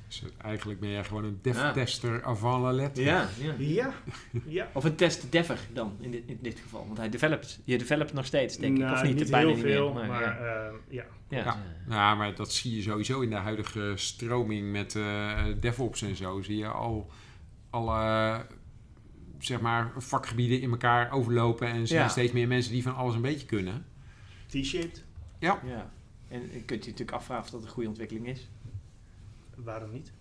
Speaker 2: Dus eigenlijk ben jij gewoon een
Speaker 1: Ja.
Speaker 2: dev-tester avant la lettre.
Speaker 1: ja.
Speaker 4: Ja,
Speaker 2: *laughs*
Speaker 4: ja.
Speaker 1: Of een test dever dan, in dit, in dit geval. Want hij developt. Je developt nog steeds, denk ik.
Speaker 4: Nou,
Speaker 1: Of niet, bijna
Speaker 4: heel
Speaker 1: niet meer,
Speaker 4: veel,
Speaker 1: maar
Speaker 4: maar,
Speaker 1: ja.
Speaker 4: eh, ja.
Speaker 1: Ja.
Speaker 2: Ja. Nou, maar dat zie je sowieso in de huidige stroming met eh, DevOps en zo. Zie je al alle zeg maar, vakgebieden in elkaar overlopen. En er zijn
Speaker 1: Ja.
Speaker 2: steeds meer mensen die van alles een beetje kunnen.
Speaker 4: T-shaped,
Speaker 1: Ja. En je kunt je natuurlijk afvragen of dat een goede ontwikkeling is.
Speaker 4: waarom niet?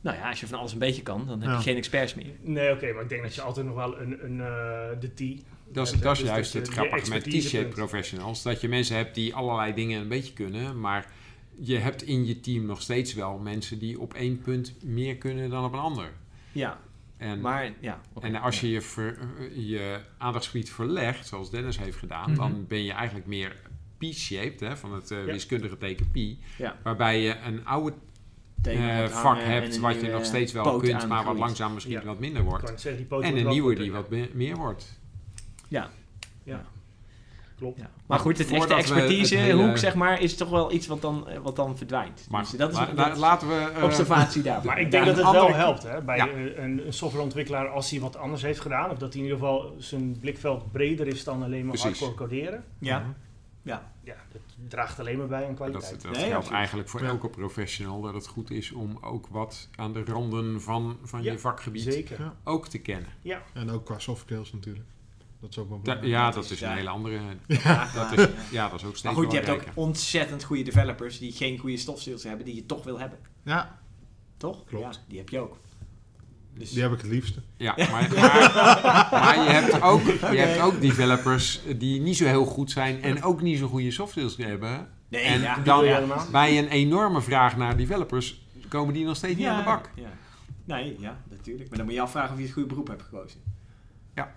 Speaker 1: Nou ja, als je van alles een beetje kan, dan heb
Speaker 3: Ja.
Speaker 1: je geen experts meer.
Speaker 4: Nee, oké, maar ik denk dat je altijd nog wel een, een eh, de T...
Speaker 2: Dat is,
Speaker 4: hebt,
Speaker 2: dat is
Speaker 4: dus
Speaker 2: juist
Speaker 4: dat
Speaker 2: het
Speaker 4: je
Speaker 2: grappige
Speaker 4: meer
Speaker 2: met
Speaker 4: expertise
Speaker 2: T-shirt
Speaker 4: bent.
Speaker 2: professionals. Dat je mensen hebt die allerlei dingen een beetje kunnen. Maar je hebt in je team nog steeds wel mensen die op één punt meer kunnen dan op een ander.
Speaker 1: Ja,
Speaker 2: En
Speaker 1: maar ja. oké.
Speaker 2: En als je je, ver- je aandachtsgebied verlegt, zoals Dennis heeft gedaan,
Speaker 1: Mhm.
Speaker 2: dan ben je eigenlijk meer P-shaped, hè, van het eh,
Speaker 4: Ja.
Speaker 2: wiskundige teken pi.
Speaker 1: Ja.
Speaker 2: Waarbij je een oude eh,
Speaker 1: Tegen het
Speaker 2: vak
Speaker 1: hangen en
Speaker 2: hebt
Speaker 1: een
Speaker 2: wat je
Speaker 1: nieuwe
Speaker 2: nog steeds wel
Speaker 1: poot
Speaker 2: kunt, maar wat
Speaker 1: aangroeit.
Speaker 2: langzaam misschien
Speaker 4: Ja.
Speaker 2: wat minder
Speaker 4: Ik
Speaker 2: wordt.
Speaker 4: kan zeggen, die poot
Speaker 2: En
Speaker 4: wordt
Speaker 2: een
Speaker 4: wel
Speaker 2: nieuwe
Speaker 4: wat
Speaker 2: die
Speaker 4: dunner.
Speaker 2: wat me- meer wordt.
Speaker 4: Klopt.
Speaker 1: Ja. Maar goed, het echte
Speaker 2: Voordat we
Speaker 1: expertise
Speaker 2: het hele-
Speaker 1: hoek, zeg maar, is toch wel iets wat dan, eh, wat dan verdwijnt.
Speaker 2: Maar
Speaker 1: Dus dat is
Speaker 2: la-
Speaker 1: een
Speaker 2: la- laten we... eh,
Speaker 1: observatie daarvan.
Speaker 4: Maar ik
Speaker 1: Ja.
Speaker 4: denk dat het
Speaker 2: andere-
Speaker 4: wel helpt hè, bij
Speaker 2: Ja.
Speaker 4: eh, een, een softwareontwikkelaar als hij wat anders heeft gedaan. Of dat hij in ieder geval zijn blikveld breder is dan alleen maar
Speaker 2: Precies.
Speaker 4: hardcore coderen.
Speaker 1: Ja.
Speaker 4: Ja, dat draagt alleen maar bij aan
Speaker 2: Dat, dat
Speaker 4: kwaliteit.
Speaker 2: geldt
Speaker 1: Nee, absoluut.
Speaker 2: eigenlijk voor
Speaker 3: Ja.
Speaker 2: elke professional dat het goed is om ook wat aan de randen van, van
Speaker 4: Ja,
Speaker 2: je vakgebied
Speaker 4: Zeker.
Speaker 3: Ja.
Speaker 2: ook te kennen.
Speaker 3: *laughs* en ook qua soft skills natuurlijk. Dat is ook wel
Speaker 2: Da-
Speaker 3: belangrijk.
Speaker 2: ja,
Speaker 1: dat
Speaker 2: dat
Speaker 1: is
Speaker 2: is een
Speaker 1: daar.
Speaker 2: hele andere...
Speaker 1: Ja. *laughs*
Speaker 2: Dat
Speaker 1: Ja.
Speaker 2: is, *laughs* ja, dat is ook steeds
Speaker 1: Maar goed, je hebt ook
Speaker 2: belangrijker.
Speaker 1: ontzettend goede developers die geen goede stofsteels hebben, die je toch wil hebben.
Speaker 3: Ja,
Speaker 1: Toch?
Speaker 3: Klopt.
Speaker 1: Ja, die heb je ook. Dus *laughs*
Speaker 3: die heb ik het liefste.
Speaker 2: Ja, maar, maar, maar je, hebt ook, je hebt ook developers die niet zo heel goed zijn en ook niet zo goede soft skills hebben.
Speaker 1: nee,
Speaker 2: en
Speaker 1: ja.
Speaker 2: dan-
Speaker 1: ja.
Speaker 4: helemaal.
Speaker 2: Bij een enorme vraag naar developers komen die nog steeds niet
Speaker 1: Ja,
Speaker 2: aan de bak.
Speaker 1: Ja. Nee, ja, natuurlijk. Maar dan moet je afvragen of je het goede beroep hebt gekozen.
Speaker 2: Ja.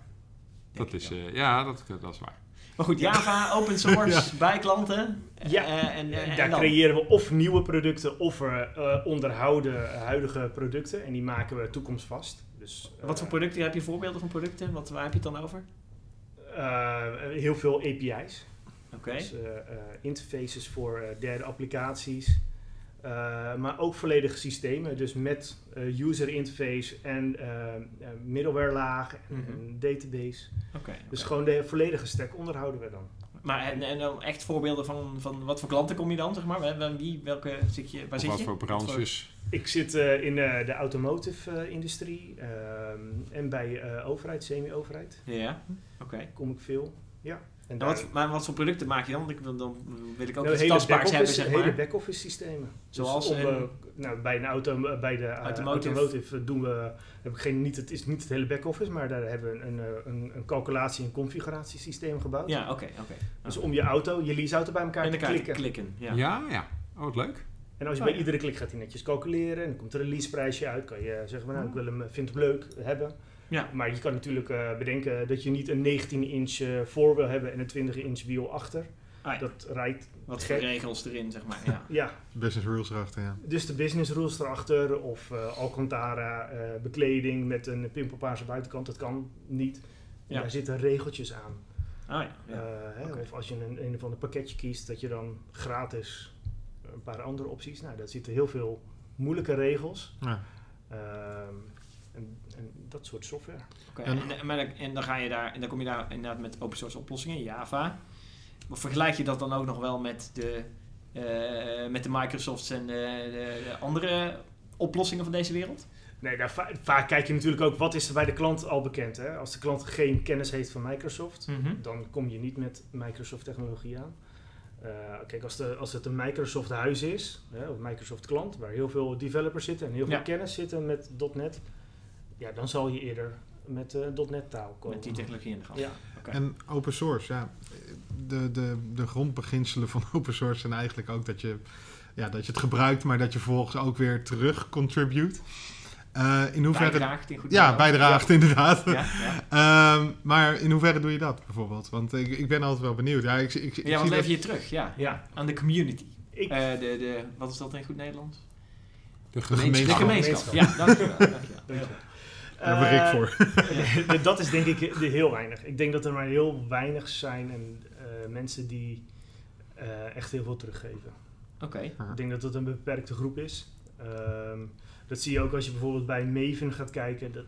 Speaker 1: Denk
Speaker 2: Dat
Speaker 1: ik
Speaker 2: is,
Speaker 1: wel.
Speaker 2: eh, ja, dat, dat is waar.
Speaker 1: Maar goed, Java, open source, bij klanten.
Speaker 4: Ja.
Speaker 1: Eh, en, eh,
Speaker 4: En
Speaker 1: en
Speaker 4: daar
Speaker 1: dan?
Speaker 4: creëren we of nieuwe producten of we eh, onderhouden huidige producten. En die maken we toekomstvast. Dus, eh,
Speaker 1: Wat voor producten? Heb je voorbeelden van producten? Wat, waar heb je het dan over?
Speaker 4: eh, heel veel API's.
Speaker 1: Oké.
Speaker 4: Dus, eh, eh, interfaces voor eh, derde applicaties. Eh, maar ook volledige systemen. Dus met eh, user interface en eh, eh, middleware laag en
Speaker 1: Mhm.
Speaker 4: een database.
Speaker 1: Oké. oké.
Speaker 4: Dus gewoon de volledige stack onderhouden we dan.
Speaker 1: Maar en, en dan echt voorbeelden van, van wat voor klanten kom je dan, zeg maar? Bij- bij Wie, welke zit je, waar
Speaker 2: Of
Speaker 1: zit
Speaker 2: wat
Speaker 1: je?
Speaker 2: voor branches.
Speaker 4: Ik zit eh, in eh, de automotive eh, industrie ehm, en bij eh, overheid, semi-overheid
Speaker 1: Ja, Hm? oké.
Speaker 4: kom ik veel. Ja. En
Speaker 1: En
Speaker 4: daar-
Speaker 1: wat, maar wat voor producten maak je dan? Want ik wil, dan wil ik ook
Speaker 4: nou,
Speaker 1: iets tastbaars hebben,
Speaker 4: back-office
Speaker 1: zeg
Speaker 4: hele
Speaker 1: maar.
Speaker 4: back-office systemen.
Speaker 1: Zoals,
Speaker 4: Dus om,
Speaker 1: eh,
Speaker 4: eh, nou, bij een auto, eh, bij de eh,
Speaker 1: Automotive.
Speaker 4: automotive, doen we, eh, heb ik geen, niet, het is niet het hele back-office, maar daar hebben we een, eh, een, een calculatie- en configuratiesysteem gebouwd.
Speaker 1: Ja, oké, oké.
Speaker 4: Dus om je auto, je leaseauto bij elkaar
Speaker 1: En
Speaker 4: te
Speaker 1: elkaar te
Speaker 4: klikken.
Speaker 1: klikken.
Speaker 2: Ja,
Speaker 1: Ja.
Speaker 2: ja. Oh, wat leuk.
Speaker 4: En als je
Speaker 1: Oh,
Speaker 4: bij
Speaker 1: ja.
Speaker 4: iedere klik gaat hij netjes calculeren. En dan komt er een leaseprijsje uit. Kan je zeggen, van, nou, ik wil hem, eh, vind hem leuk hebben.
Speaker 1: Oh. Ja.
Speaker 4: Maar je kan natuurlijk eh, bedenken dat je niet een 19-inch voor wil hebben en een 20-inch wiel achter.
Speaker 1: Ah, ja.
Speaker 4: Dat rijdt,
Speaker 1: Wat voor
Speaker 4: gek.
Speaker 1: regels erin, zeg maar.
Speaker 4: *laughs*
Speaker 1: Ja.
Speaker 4: ja.
Speaker 3: Business rules erachter, ja.
Speaker 4: Dus de business rules erachter of eh, Alcantara eh, bekleding met een pimpelpaarse buitenkant. Dat kan niet. En
Speaker 1: Ja.
Speaker 4: Daar zitten regeltjes aan.
Speaker 1: Ah, ja. ja.
Speaker 4: Eh, hè,
Speaker 1: oké.
Speaker 4: Of als je een, een of ander pakketje kiest, dat je dan gratis een paar andere opties. Nou, daar zitten heel veel moeilijke regels.
Speaker 3: Ja.
Speaker 4: Ehm, en, en dat soort software.
Speaker 1: Oké,
Speaker 3: En-
Speaker 1: en, en, maar dan- en dan ga je daar en dan kom je daar inderdaad met open source oplossingen, Java. Maar vergelijk je dat dan ook nog wel met de, eh, met de Microsofts en de, de- de andere oplossingen van deze wereld?
Speaker 4: Nee, daar va- vaak kijk je natuurlijk ook wat is er bij de klant al bekend. Hè? Als de klant geen kennis heeft van Microsoft, dan kom je niet met Microsoft-technologie aan. Eh, kijk, als, de, als het een Microsoft-huis is, hè, of Microsoft-klant, waar heel veel developers zitten en heel veel
Speaker 1: Ja.
Speaker 4: kennis zitten met .NET, ja, dan zal je eerder met eh .NET-taal komen.
Speaker 1: Met die technologie in de gang.
Speaker 4: Ja.
Speaker 1: Oké.
Speaker 3: En open source, ja. De, de, de grondbeginselen van *laughs* open source zijn eigenlijk ook dat je, ja, dat je het gebruikt, maar dat je vervolgens ook weer terug contribute. Eh, in hoeverre.
Speaker 1: Bijdraagt in goed
Speaker 3: ja,
Speaker 1: Nederlands.
Speaker 3: bijdraagt inderdaad.
Speaker 1: Ja, ja.
Speaker 3: Ehm, maar in hoeverre doe je dat bijvoorbeeld? Want ik, ik ben altijd wel benieuwd. Ja, ik, ik, ik
Speaker 1: ja
Speaker 3: zie
Speaker 1: want leef
Speaker 3: dat-
Speaker 1: je terug, ja.
Speaker 4: Ja,
Speaker 1: Aan de community.
Speaker 4: ik,
Speaker 1: Eh, de, de, wat is dat in goed Nederlands?
Speaker 2: De
Speaker 3: gemeenschap.
Speaker 1: De
Speaker 2: gemeenschap.
Speaker 1: gemeenschap. Ja, dankjewel. dankjewel.
Speaker 4: Dank je wel.
Speaker 3: daar ben ik
Speaker 4: Eh, *laughs*
Speaker 3: voor.
Speaker 4: Nee, dat is denk ik de- heel weinig. Ik denk dat er maar heel weinig zijn en eh, mensen die eh, echt heel veel teruggeven.
Speaker 1: Oké.
Speaker 4: Ik denk dat dat een beperkte groep is. Ehm, dat zie je ook als je bijvoorbeeld bij Maven gaat kijken. Dat,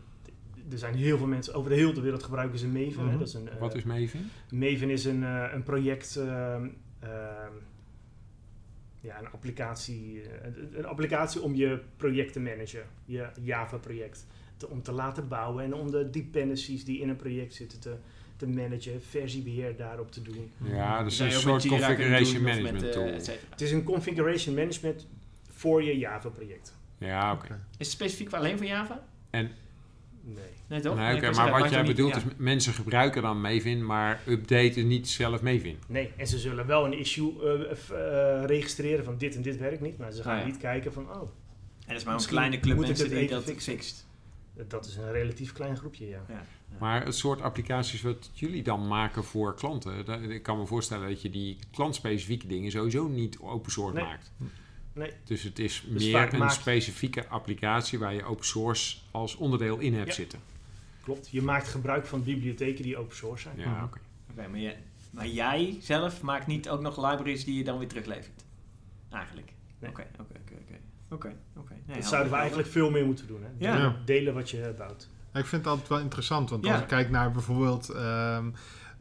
Speaker 4: er zijn heel veel mensen, over de hele wereld gebruiken ze Maven.
Speaker 3: Mhm.
Speaker 4: hè. Dat is een, eh,
Speaker 2: Wat is Maven?
Speaker 4: Maven is een, eh, een project, ehm, ehm, ja, een applicatie, eh, een, een applicatie om je project te managen, je Java-project. Te- Om te laten bouwen en om de dependencies die in een project zitten te, te managen, versiebeheer daarop te doen.
Speaker 2: Ja, dat is
Speaker 1: Zou
Speaker 2: een
Speaker 1: je ook
Speaker 2: soort
Speaker 1: met Jira kunnen
Speaker 2: configuration
Speaker 1: doen of met,
Speaker 2: management
Speaker 1: eh,
Speaker 2: tool.
Speaker 1: et cetera.
Speaker 4: Het is een configuration management voor je Java-project.
Speaker 2: Ja, oké.
Speaker 1: Is het specifiek alleen voor Java?
Speaker 4: Nee.
Speaker 1: Nee, toch?
Speaker 2: Nee,
Speaker 1: Nee,
Speaker 2: Nou, oké,
Speaker 1: ik was
Speaker 2: maar
Speaker 1: eruit,
Speaker 2: wat jij
Speaker 1: maakt
Speaker 2: bedoelt
Speaker 1: niet-
Speaker 2: is m- mensen gebruiken dan Maven, maar updaten niet zelf Maven.
Speaker 4: Nee, en ze zullen wel een issue eh, f- eh, registreren van dit en dit werkt niet, maar ze gaan
Speaker 1: Ah, ja.
Speaker 4: niet kijken van, oh,
Speaker 1: En dat is maar een
Speaker 4: Misschien
Speaker 1: kleine club
Speaker 4: moet ik
Speaker 1: mensen
Speaker 4: het
Speaker 1: die
Speaker 4: even
Speaker 1: dat
Speaker 4: fixen.
Speaker 1: fixt.
Speaker 4: dat is een relatief klein groepje, ja.
Speaker 2: Maar het soort applicaties wat jullie dan maken voor klanten, da- ik kan me voorstellen dat je die klantspecifieke dingen sowieso niet open source
Speaker 4: Nee.
Speaker 2: maakt.
Speaker 4: Nee.
Speaker 2: Dus het is
Speaker 4: Dus vaak
Speaker 2: meer een
Speaker 4: maakt-
Speaker 2: specifieke applicatie waar je open source als onderdeel in hebt
Speaker 4: Ja.
Speaker 2: zitten.
Speaker 4: Klopt, je maakt gebruik van bibliotheken die open source zijn.
Speaker 2: Ja,
Speaker 3: Mhm.
Speaker 2: oké.
Speaker 1: Oké, maar, jij- maar jij zelf maakt niet ook nog libraries die je dan weer teruglevert? Eigenlijk.
Speaker 4: Nee.
Speaker 1: Oké, oké, oké, oké. Oké, oké. Nee,
Speaker 4: dat
Speaker 1: helder.
Speaker 4: zouden we eigenlijk veel meer moeten doen. Hè?
Speaker 1: Ja.
Speaker 3: Ja.
Speaker 4: Delen wat je bouwt.
Speaker 3: Ja, ik vind het altijd wel interessant, want
Speaker 1: Ja.
Speaker 3: als ik kijk naar bijvoorbeeld ehm,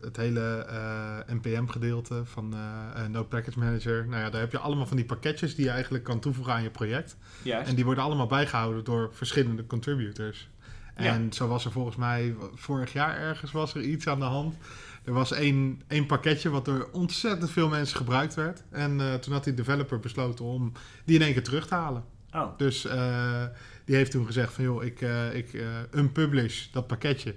Speaker 3: het hele eh, NPM-gedeelte van eh eh, Node Package Manager. Nou ja, daar heb je allemaal van die pakketjes die je eigenlijk kan toevoegen aan je project.
Speaker 1: Juist.
Speaker 3: En die worden allemaal bijgehouden door verschillende contributors. En zo was er volgens mij vorig jaar ergens was er iets aan de hand. Er was één, één pakketje wat door ontzettend veel mensen gebruikt werd. En eh, toen had die developer besloten om die in één keer terug te halen.
Speaker 1: Oh,
Speaker 3: Dus eh, die heeft toen gezegd van joh, ik, eh ik eh, unpublish dat pakketje.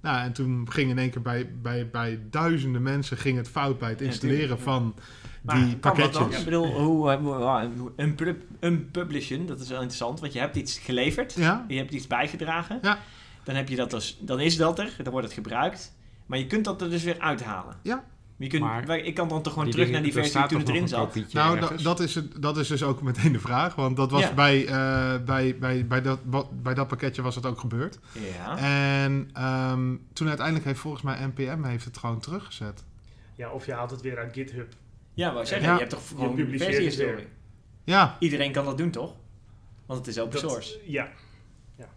Speaker 3: Nou, en toen ging in één keer bij, bij, bij duizenden mensen ging het fout bij het
Speaker 1: Ja,
Speaker 3: installeren
Speaker 1: tuurlijk, ja.
Speaker 3: van
Speaker 1: maar
Speaker 3: die
Speaker 1: kan dat dan?
Speaker 3: pakketjes.
Speaker 1: Ik bedoel, hoe, eh, hoe- hoe- een pub- een publishen, dat is wel interessant, want je hebt iets geleverd,
Speaker 3: Ja,
Speaker 1: je hebt iets bijgedragen.
Speaker 3: Ja.
Speaker 1: Dan, heb je dat als, dan is dat er, dan wordt het gebruikt. Maar je kunt dat er dus weer uithalen.
Speaker 3: Ja.
Speaker 1: Maar Je kunt,
Speaker 2: Maar
Speaker 1: wij- ik kan dan toch gewoon
Speaker 2: Die
Speaker 1: terug
Speaker 2: dingen-
Speaker 1: naar die
Speaker 2: er
Speaker 1: versie toen
Speaker 2: staat toch
Speaker 1: het erin
Speaker 2: nog een
Speaker 1: zat.
Speaker 2: kopietje
Speaker 3: nou, da-
Speaker 2: ergens?
Speaker 3: dat, is het, dat is dus ook meteen de vraag. Want dat was
Speaker 1: Ja.
Speaker 3: bij, eh, bij, bij, bij, dat, wat- bij dat pakketje was dat ook gebeurd.
Speaker 1: Ja.
Speaker 3: En ehm, toen uiteindelijk heeft volgens mij NPM heeft het gewoon teruggezet.
Speaker 4: Ja, of je haalt het weer uit GitHub.
Speaker 1: Ja, wou ik zeggen,
Speaker 3: Ja.
Speaker 1: je hebt toch gewoon een
Speaker 4: publiceert
Speaker 1: versie
Speaker 4: het weer.
Speaker 1: historie.
Speaker 3: Ja,
Speaker 1: Iedereen kan dat doen, toch? Want het is open
Speaker 4: Dat-
Speaker 1: source.
Speaker 4: Ja. ja.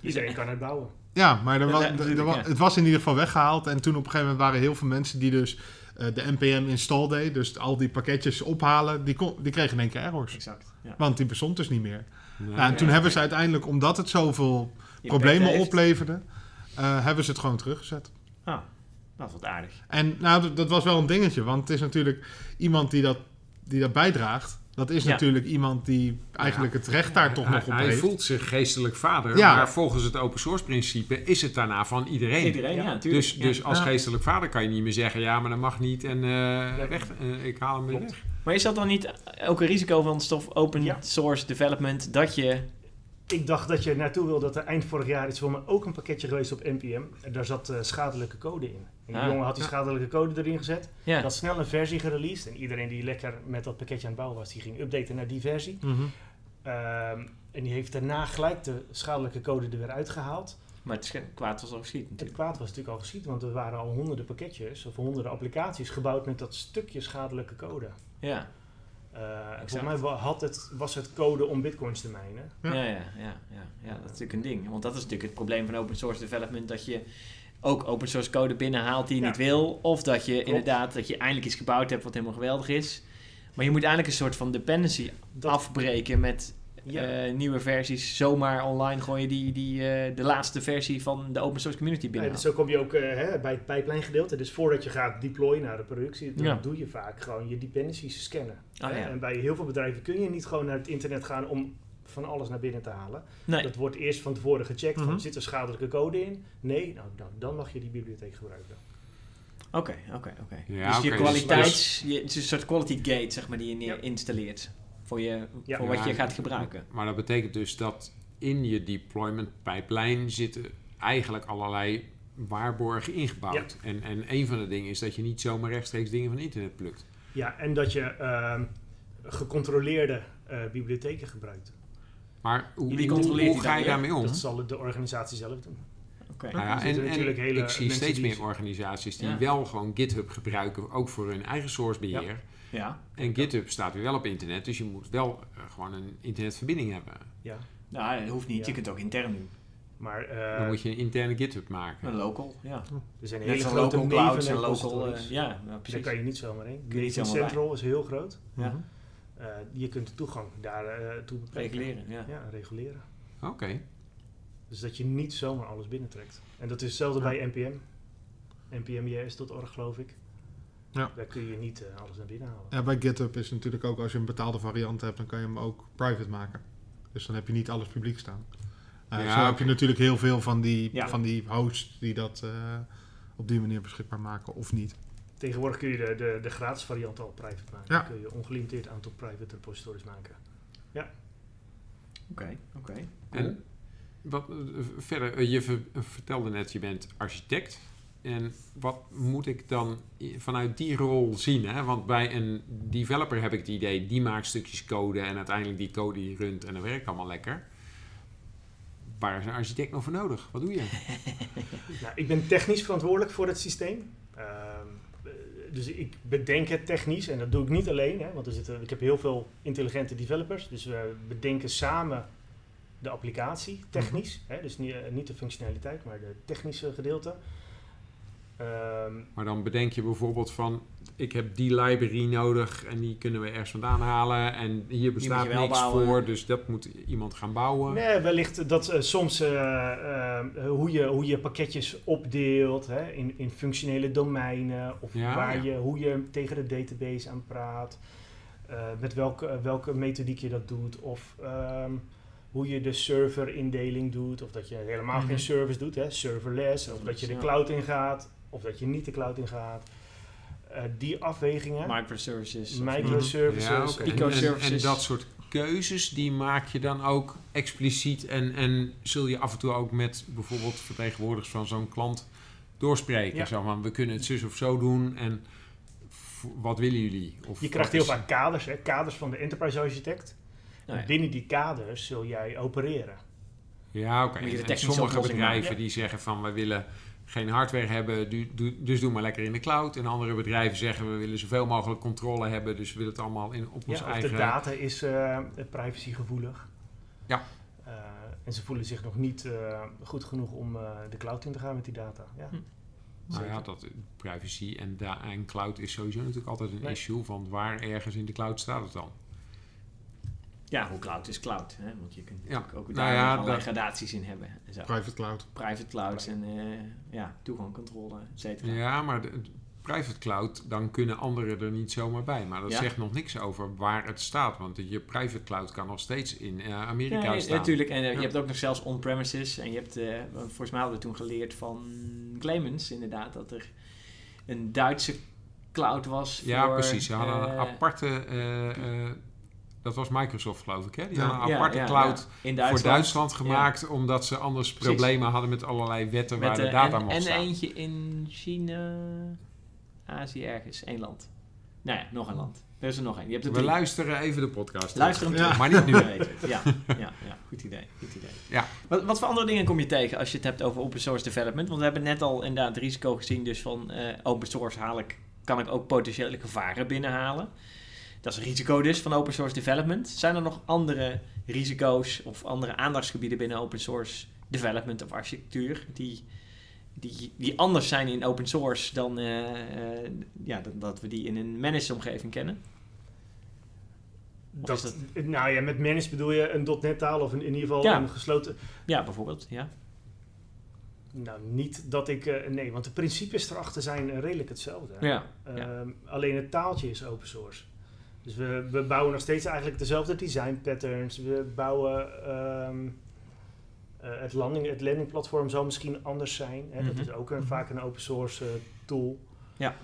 Speaker 4: Iedereen kan het bouwen.
Speaker 3: Ja, maar er
Speaker 1: Ja,
Speaker 3: wa-
Speaker 1: ja,
Speaker 3: er- er
Speaker 1: natuurlijk,
Speaker 3: wa-
Speaker 1: ja.
Speaker 3: het was in ieder geval weggehaald. En toen op een gegeven moment waren heel veel mensen die dus eh, de NPM install deed. Dus al die pakketjes ophalen, die, kon- die kregen in één keer errors.
Speaker 1: Exact. Ja.
Speaker 3: Want die bestond dus niet meer.
Speaker 2: Nee.
Speaker 3: Nou, en toen
Speaker 1: ja,
Speaker 3: hebben ze uiteindelijk, omdat het zoveel
Speaker 1: Je
Speaker 3: problemen
Speaker 1: heeft-
Speaker 3: opleverde, eh, hebben ze het gewoon teruggezet.
Speaker 1: Ah, dat wat aardig.
Speaker 3: En nou, dat, dat was wel een dingetje. Want het is natuurlijk iemand die dat, die dat bijdraagt. Dat is
Speaker 1: Ja.
Speaker 3: natuurlijk iemand die eigenlijk het recht daar toch
Speaker 2: hij,
Speaker 3: nog op
Speaker 2: hij
Speaker 3: heeft.
Speaker 2: voelt zich geestelijk vader,
Speaker 3: Ja.
Speaker 2: maar volgens het open source principe is het daarna van iedereen.
Speaker 1: Iedereen, ja,
Speaker 4: Ja.
Speaker 1: natuurlijk.
Speaker 2: Dus, dus als
Speaker 3: Ja.
Speaker 2: geestelijk vader kan je niet meer zeggen, ja, maar dat mag niet en eh,
Speaker 4: Nee.
Speaker 2: weg, eh, ik haal hem weer
Speaker 4: Klopt.
Speaker 2: weg.
Speaker 1: Maar is dat dan niet ook een risico van stof open
Speaker 4: Ja.
Speaker 1: source development dat je...
Speaker 4: Ik dacht dat je naartoe wilde dat er eind vorig jaar is voor me ook een pakketje geweest op NPM. En daar zat eh, schadelijke code in. En die
Speaker 1: Ah.
Speaker 4: jongen had die schadelijke code erin gezet.
Speaker 1: Ja,
Speaker 4: *laughs* Dat snel een versie gereleased. En iedereen die lekker met dat pakketje aan het bouwen was, die ging updaten naar die versie.
Speaker 3: Mhm.
Speaker 4: Ehm, en die heeft daarna gelijk de schadelijke code er weer uitgehaald.
Speaker 1: maar het is geen kwaad als er geschiet
Speaker 4: Het
Speaker 1: natuurlijk.
Speaker 4: kwaad was natuurlijk al geschied, want er waren al honderden pakketjes of honderden applicaties gebouwd met dat stukje schadelijke code.
Speaker 1: Ja.
Speaker 4: Eh, volgens mij wa- had het, was het code om bitcoins te mijnen.
Speaker 1: Ja,
Speaker 3: Ja.
Speaker 1: ja, ja, ja, ja, dat is natuurlijk een ding. Want dat is natuurlijk het probleem van open source development. Dat je ook open source code binnenhaalt die je
Speaker 4: Ja.
Speaker 1: niet wil. Of dat je inderdaad dat je eindelijk iets gebouwd hebt wat helemaal geweldig is. Maar je moet eigenlijk een soort van dependency
Speaker 4: Dat-
Speaker 1: afbreken met
Speaker 4: Ja.
Speaker 1: eh, nieuwe versies. Zomaar online gooien die, die eh, de laatste versie van de open source community
Speaker 4: Nee, dus
Speaker 1: binnenhaalt.
Speaker 4: zo kom je ook eh, hè, bij het pipeline gedeelte. Dus voordat je gaat deployen naar de productie, dan
Speaker 1: Ja.
Speaker 4: doe je vaak gewoon je dependencies scannen.
Speaker 1: Ah,
Speaker 4: Hè?
Speaker 1: ja.
Speaker 4: En bij heel veel bedrijven kun je niet gewoon naar het internet gaan om van alles naar binnen te halen.
Speaker 1: Nee,
Speaker 4: Dat wordt eerst van tevoren gecheckt.
Speaker 3: Mhm.
Speaker 4: van, zit er schadelijke code in? Nee, nou, dan- dan mag je die bibliotheek gebruiken.
Speaker 1: oké, oké, oké.
Speaker 2: Ja,
Speaker 1: Dus je
Speaker 2: oké,
Speaker 1: kwaliteits... je- het is een soort quality gate, zeg maar, die je neer-
Speaker 4: Ja.
Speaker 1: installeert. Voor, je,
Speaker 4: Ja.
Speaker 1: voor wat
Speaker 2: Ja.
Speaker 1: je gaat gebruiken.
Speaker 2: Maar dat betekent dus dat in je deployment pipeline zitten eigenlijk allerlei waarborgen ingebouwd. En, en een van de dingen is dat je niet zomaar rechtstreeks dingen van internet plukt.
Speaker 4: Ja, en dat je ehm, gecontroleerde eh, bibliotheken gebruikt.
Speaker 2: Maar hoe,
Speaker 1: Jullie
Speaker 2: hoe-
Speaker 1: controleren
Speaker 2: hoe
Speaker 1: die
Speaker 2: ga
Speaker 1: dan
Speaker 2: je
Speaker 1: weer?
Speaker 2: daarmee om?
Speaker 4: Dat zal de organisatie zelf doen.
Speaker 1: Oké.
Speaker 2: Nou ja,
Speaker 4: Er
Speaker 2: en,
Speaker 4: zitten
Speaker 2: en
Speaker 4: natuurlijk hele
Speaker 2: ik zie
Speaker 4: mensen
Speaker 2: steeds
Speaker 4: die-
Speaker 2: meer organisaties die
Speaker 1: Ja.
Speaker 2: wel gewoon GitHub gebruiken, ook voor hun eigen sourcebeheer.
Speaker 1: Ja.
Speaker 2: En GitHub staat weer wel op internet, dus je moet wel eh, gewoon een internetverbinding hebben.
Speaker 4: Ja.
Speaker 1: Nou, dat hoeft niet.
Speaker 4: Ja.
Speaker 1: Je kunt het ook intern doen.
Speaker 4: Maar eh,
Speaker 2: Dan moet je een interne GitHub maken.
Speaker 1: Een local, ja.
Speaker 4: er zijn
Speaker 1: Net
Speaker 4: hele
Speaker 1: zo'n
Speaker 4: grote
Speaker 1: local clouds en local...
Speaker 4: nevenrepositories.
Speaker 1: eh, ja, nou,
Speaker 4: Daar
Speaker 1: precies.
Speaker 4: kan je niet zomaar heen.
Speaker 1: je niet
Speaker 4: Gate
Speaker 1: zomaar bij.
Speaker 4: Central is heel groot.
Speaker 1: Ja.
Speaker 3: Mhm.
Speaker 4: Eh, je kunt de toegang daartoe toe beperken.
Speaker 1: Reguleren, ja.
Speaker 4: Ja, reguleren.
Speaker 2: Oké.
Speaker 4: Dus dat je niet zomaar alles binnentrekt. En dat is hetzelfde bij NPM. NPMJS.org geloof ik.
Speaker 3: Ja.
Speaker 4: Daar kun je niet eh, alles naar binnen halen.
Speaker 3: Ja, bij GitHub is natuurlijk ook als je een betaalde variant hebt, dan kan je hem ook private maken. Dus dan heb je niet alles publiek staan. Nou,
Speaker 2: Ja,
Speaker 3: zo heb
Speaker 2: oké.
Speaker 3: je natuurlijk heel veel van die,
Speaker 1: Ja.
Speaker 3: van die hosts die dat eh, op die manier beschikbaar maken of niet.
Speaker 4: Tegenwoordig kun je de, de, de gratis variant al private maken.
Speaker 3: Ja.
Speaker 4: Dan kun je ongelimiteerd aantal private repositories maken.
Speaker 1: Oké, oké.
Speaker 2: En wat, eh, verder, eh, je ver- vertelde net, je bent architect. En wat moet ik dan i- vanuit die rol zien? Hè? Want bij een developer heb ik het idee, die maakt stukjes code en uiteindelijk die code die runt en dat werkt allemaal lekker. Waar is een architect nog voor nodig? Wat doe je?
Speaker 4: Nou, ik ben technisch verantwoordelijk voor het systeem. Ehm, eh, dus ik bedenk het technisch en dat doe ik niet alleen. Hè, want er zitten, ik heb heel veel intelligente developers. Dus we bedenken samen de applicatie technisch. Hè, dus niet, eh, niet de functionaliteit, maar de technische gedeelte. Ehm,
Speaker 2: Maar dan bedenk je bijvoorbeeld van, ik heb die library nodig en die kunnen we ergens vandaan halen. En hier bestaat
Speaker 1: je wel
Speaker 2: niks
Speaker 1: bouwen.
Speaker 2: voor, dus dat moet iemand gaan bouwen.
Speaker 4: Nee, wellicht dat eh, soms eh, eh, hoe, je, hoe je pakketjes opdeelt hè, in, in functionele domeinen. Of
Speaker 2: Ja,
Speaker 4: waar
Speaker 2: ja.
Speaker 4: Je, hoe je tegen de database aan praat. eh, met welke, eh, welke methodiek je dat doet. Of ehm, hoe je de serverindeling doet. Of dat je helemaal
Speaker 1: Mhm.
Speaker 4: geen service doet, hè, serverless. Of dat je de
Speaker 1: Ja.
Speaker 4: cloud ingaat. Of dat je niet de cloud ingaat. Eh die afwegingen.
Speaker 1: Microservices. of-
Speaker 4: Microservices.
Speaker 2: Ja, oké. En- en, en
Speaker 1: Ecoservices.
Speaker 2: dat soort keuzes, die maak je dan ook expliciet. En, en zul je af en toe ook met bijvoorbeeld vertegenwoordigers van zo'n klant doorspreken.
Speaker 4: Ja.
Speaker 2: Zo van, we kunnen het zus of zo doen en v- wat willen jullie? Of
Speaker 4: Je
Speaker 2: wat
Speaker 4: krijgt heel
Speaker 2: is-
Speaker 4: vaak kaders, hè? kaders van de enterprise architect.
Speaker 1: Nou ja.
Speaker 4: En binnen die kaders zul jij opereren.
Speaker 2: Ja, oké.
Speaker 1: Moet je de
Speaker 2: En
Speaker 1: technische
Speaker 2: sommige
Speaker 1: oplossing maken.
Speaker 2: bedrijven die zeggen van, we willen geen hardware hebben, du- du- dus doe maar lekker in de cloud. En andere bedrijven zeggen, we willen zoveel mogelijk controle hebben, dus we willen het allemaal in, op
Speaker 4: Ja,
Speaker 2: ons
Speaker 4: of
Speaker 2: eigen...
Speaker 4: de data is eh, privacygevoelig.
Speaker 2: Ja.
Speaker 4: Eh, en ze voelen zich nog niet eh, goed genoeg om eh, de cloud in te gaan met die data. Ja.
Speaker 1: Hm.
Speaker 2: Nou ja,
Speaker 4: Zeker.
Speaker 2: dat privacy en, da- en cloud is sowieso natuurlijk altijd een
Speaker 4: Nee.
Speaker 2: issue van waar ergens in de cloud staat het dan.
Speaker 1: Ja, hoe cloud is cloud. Hè? Want je kunt
Speaker 2: Ja.
Speaker 1: natuurlijk ook
Speaker 2: Nou
Speaker 1: daar
Speaker 2: ja,
Speaker 1: nog allerlei
Speaker 2: dat-
Speaker 1: gradaties in hebben. En zo.
Speaker 3: Private cloud.
Speaker 1: Private clouds en eh, ja, toegangcontrole, et cetera.
Speaker 2: Ja, maar de, de private cloud, dan kunnen anderen er niet zomaar bij. Maar dat
Speaker 1: Ja.
Speaker 2: zegt nog niks over waar het staat. Want je private cloud kan nog steeds in eh,
Speaker 1: Ja,
Speaker 2: Amerika
Speaker 1: ja,
Speaker 2: staan.
Speaker 1: natuurlijk. En eh,
Speaker 2: Ja.
Speaker 1: je hebt ook nog zelfs on-premises. En je hebt, eh, volgens mij hadden we toen geleerd van Clemens inderdaad, dat er een Duitse cloud was
Speaker 2: Ja,
Speaker 1: voor,
Speaker 2: precies. Ze hadden een
Speaker 1: eh,
Speaker 2: aparte... eh, eh, dat was Microsoft, geloof ik, hè? Die
Speaker 3: Ja.
Speaker 2: hadden een
Speaker 1: ja,
Speaker 2: aparte
Speaker 1: ja,
Speaker 2: cloud
Speaker 1: ja. in
Speaker 2: voor Duitsland gemaakt... omdat ze anders
Speaker 1: Precies.
Speaker 2: problemen hadden met allerlei wetten
Speaker 1: Met,
Speaker 2: waar de
Speaker 1: eh,
Speaker 2: data
Speaker 1: en,
Speaker 2: mocht
Speaker 1: en
Speaker 2: staan.
Speaker 1: eentje in China, Azië ergens, één land. Nou ja, nog een land. Er is er nog één. Je hebt er
Speaker 2: We
Speaker 1: drie.
Speaker 2: luisteren even de podcast. terug.
Speaker 1: Luister hem
Speaker 3: Ja.
Speaker 1: terug.
Speaker 2: Maar niet nu.
Speaker 1: Ja, *laughs* weet het. Ja, ja, ja, goed idee. Goed idee.
Speaker 2: Ja.
Speaker 1: Wat, wat voor andere dingen kom je tegen als je het hebt over open source development? Want we hebben net al inderdaad het risico gezien dus van eh, open source haal ik, kan ik ook potentiële gevaren binnenhalen. Dat is een risico dus van open source development. Zijn er nog andere risico's of andere aandachtsgebieden binnen open source development of architectuur die, die, die anders zijn in open source dan eh, eh, ja, dat, dat we die in een managed omgeving kennen? Of
Speaker 4: Dat,
Speaker 1: is
Speaker 4: Nou ja, met managed bedoel je een .NET taal of een, in ieder geval
Speaker 1: Ja.
Speaker 4: een gesloten...
Speaker 1: Ja, bijvoorbeeld. Ja.
Speaker 4: Nou, niet dat ik... eh, nee, want de principes erachter zijn eh, redelijk hetzelfde.
Speaker 1: Ja.
Speaker 4: Ehm, Alleen het taaltje is open source. Dus we, we bouwen nog steeds eigenlijk dezelfde design patterns. We bouwen ehm, eh, het, landing, het landingplatform zal misschien anders zijn. Hè?
Speaker 1: Mhm.
Speaker 4: Dat is ook een, vaak een open source eh, tool.
Speaker 1: Ja.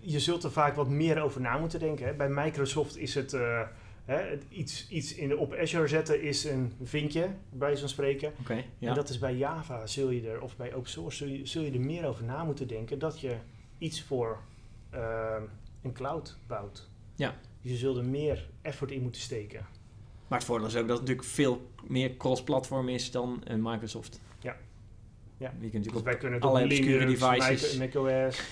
Speaker 4: Je zult er vaak wat meer over na moeten denken. Hè? Bij Microsoft is het, eh, hè, het iets, iets in, op Azure zetten is een vinkje, bij zo'n spreken.
Speaker 1: Oké. ja.
Speaker 4: En dat is bij Java zul je er, of bij open source, zul je, zul je er meer over na moeten denken dat je iets voor ehm, een cloud bouwt.
Speaker 1: Ja.
Speaker 4: Dus je zult er meer effort in moeten steken.
Speaker 1: Maar het voordeel is ook dat het natuurlijk veel meer cross-platform is dan een Microsoft.
Speaker 4: Ja. Ja.
Speaker 1: Je kunt
Speaker 4: Dus
Speaker 1: natuurlijk
Speaker 4: wij kunnen het op
Speaker 1: alle obscure
Speaker 4: Linux,
Speaker 1: devices.
Speaker 4: Mac, macOS,
Speaker 1: op...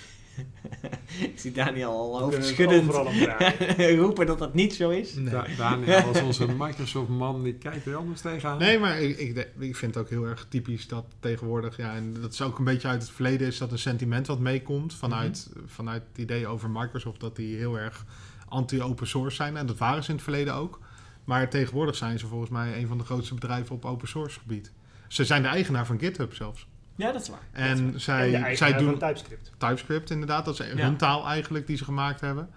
Speaker 1: *laughs* Ik zie Daniel al
Speaker 4: Dus we kunnen het
Speaker 1: hoofdschuddend
Speaker 4: overal op draaien.
Speaker 1: *laughs* roepen dat dat niet zo is.
Speaker 3: Nee.
Speaker 2: Da- Daniel als onze Microsoft-man, die kijkt er anders tegenaan.
Speaker 3: Nee, maar ik, ik, de- ik vind het ook heel erg typisch dat tegenwoordig, ja, en dat is ook een beetje uit het verleden, is dat een sentiment wat meekomt vanuit,
Speaker 1: Mhm.
Speaker 3: vanuit het idee over Microsoft dat die heel erg anti-open source zijn. En dat waren ze in het verleden ook. Maar tegenwoordig zijn ze volgens mij een van de grootste bedrijven op open source gebied. Ze zijn de eigenaar van GitHub zelfs.
Speaker 1: Ja, dat is waar.
Speaker 4: is
Speaker 3: En
Speaker 4: en de
Speaker 3: zij,
Speaker 4: eigenaar
Speaker 3: zij doen
Speaker 4: van TypeScript.
Speaker 3: TypeScript inderdaad. Dat is
Speaker 1: Ja.
Speaker 3: hun taal eigenlijk die ze gemaakt hebben.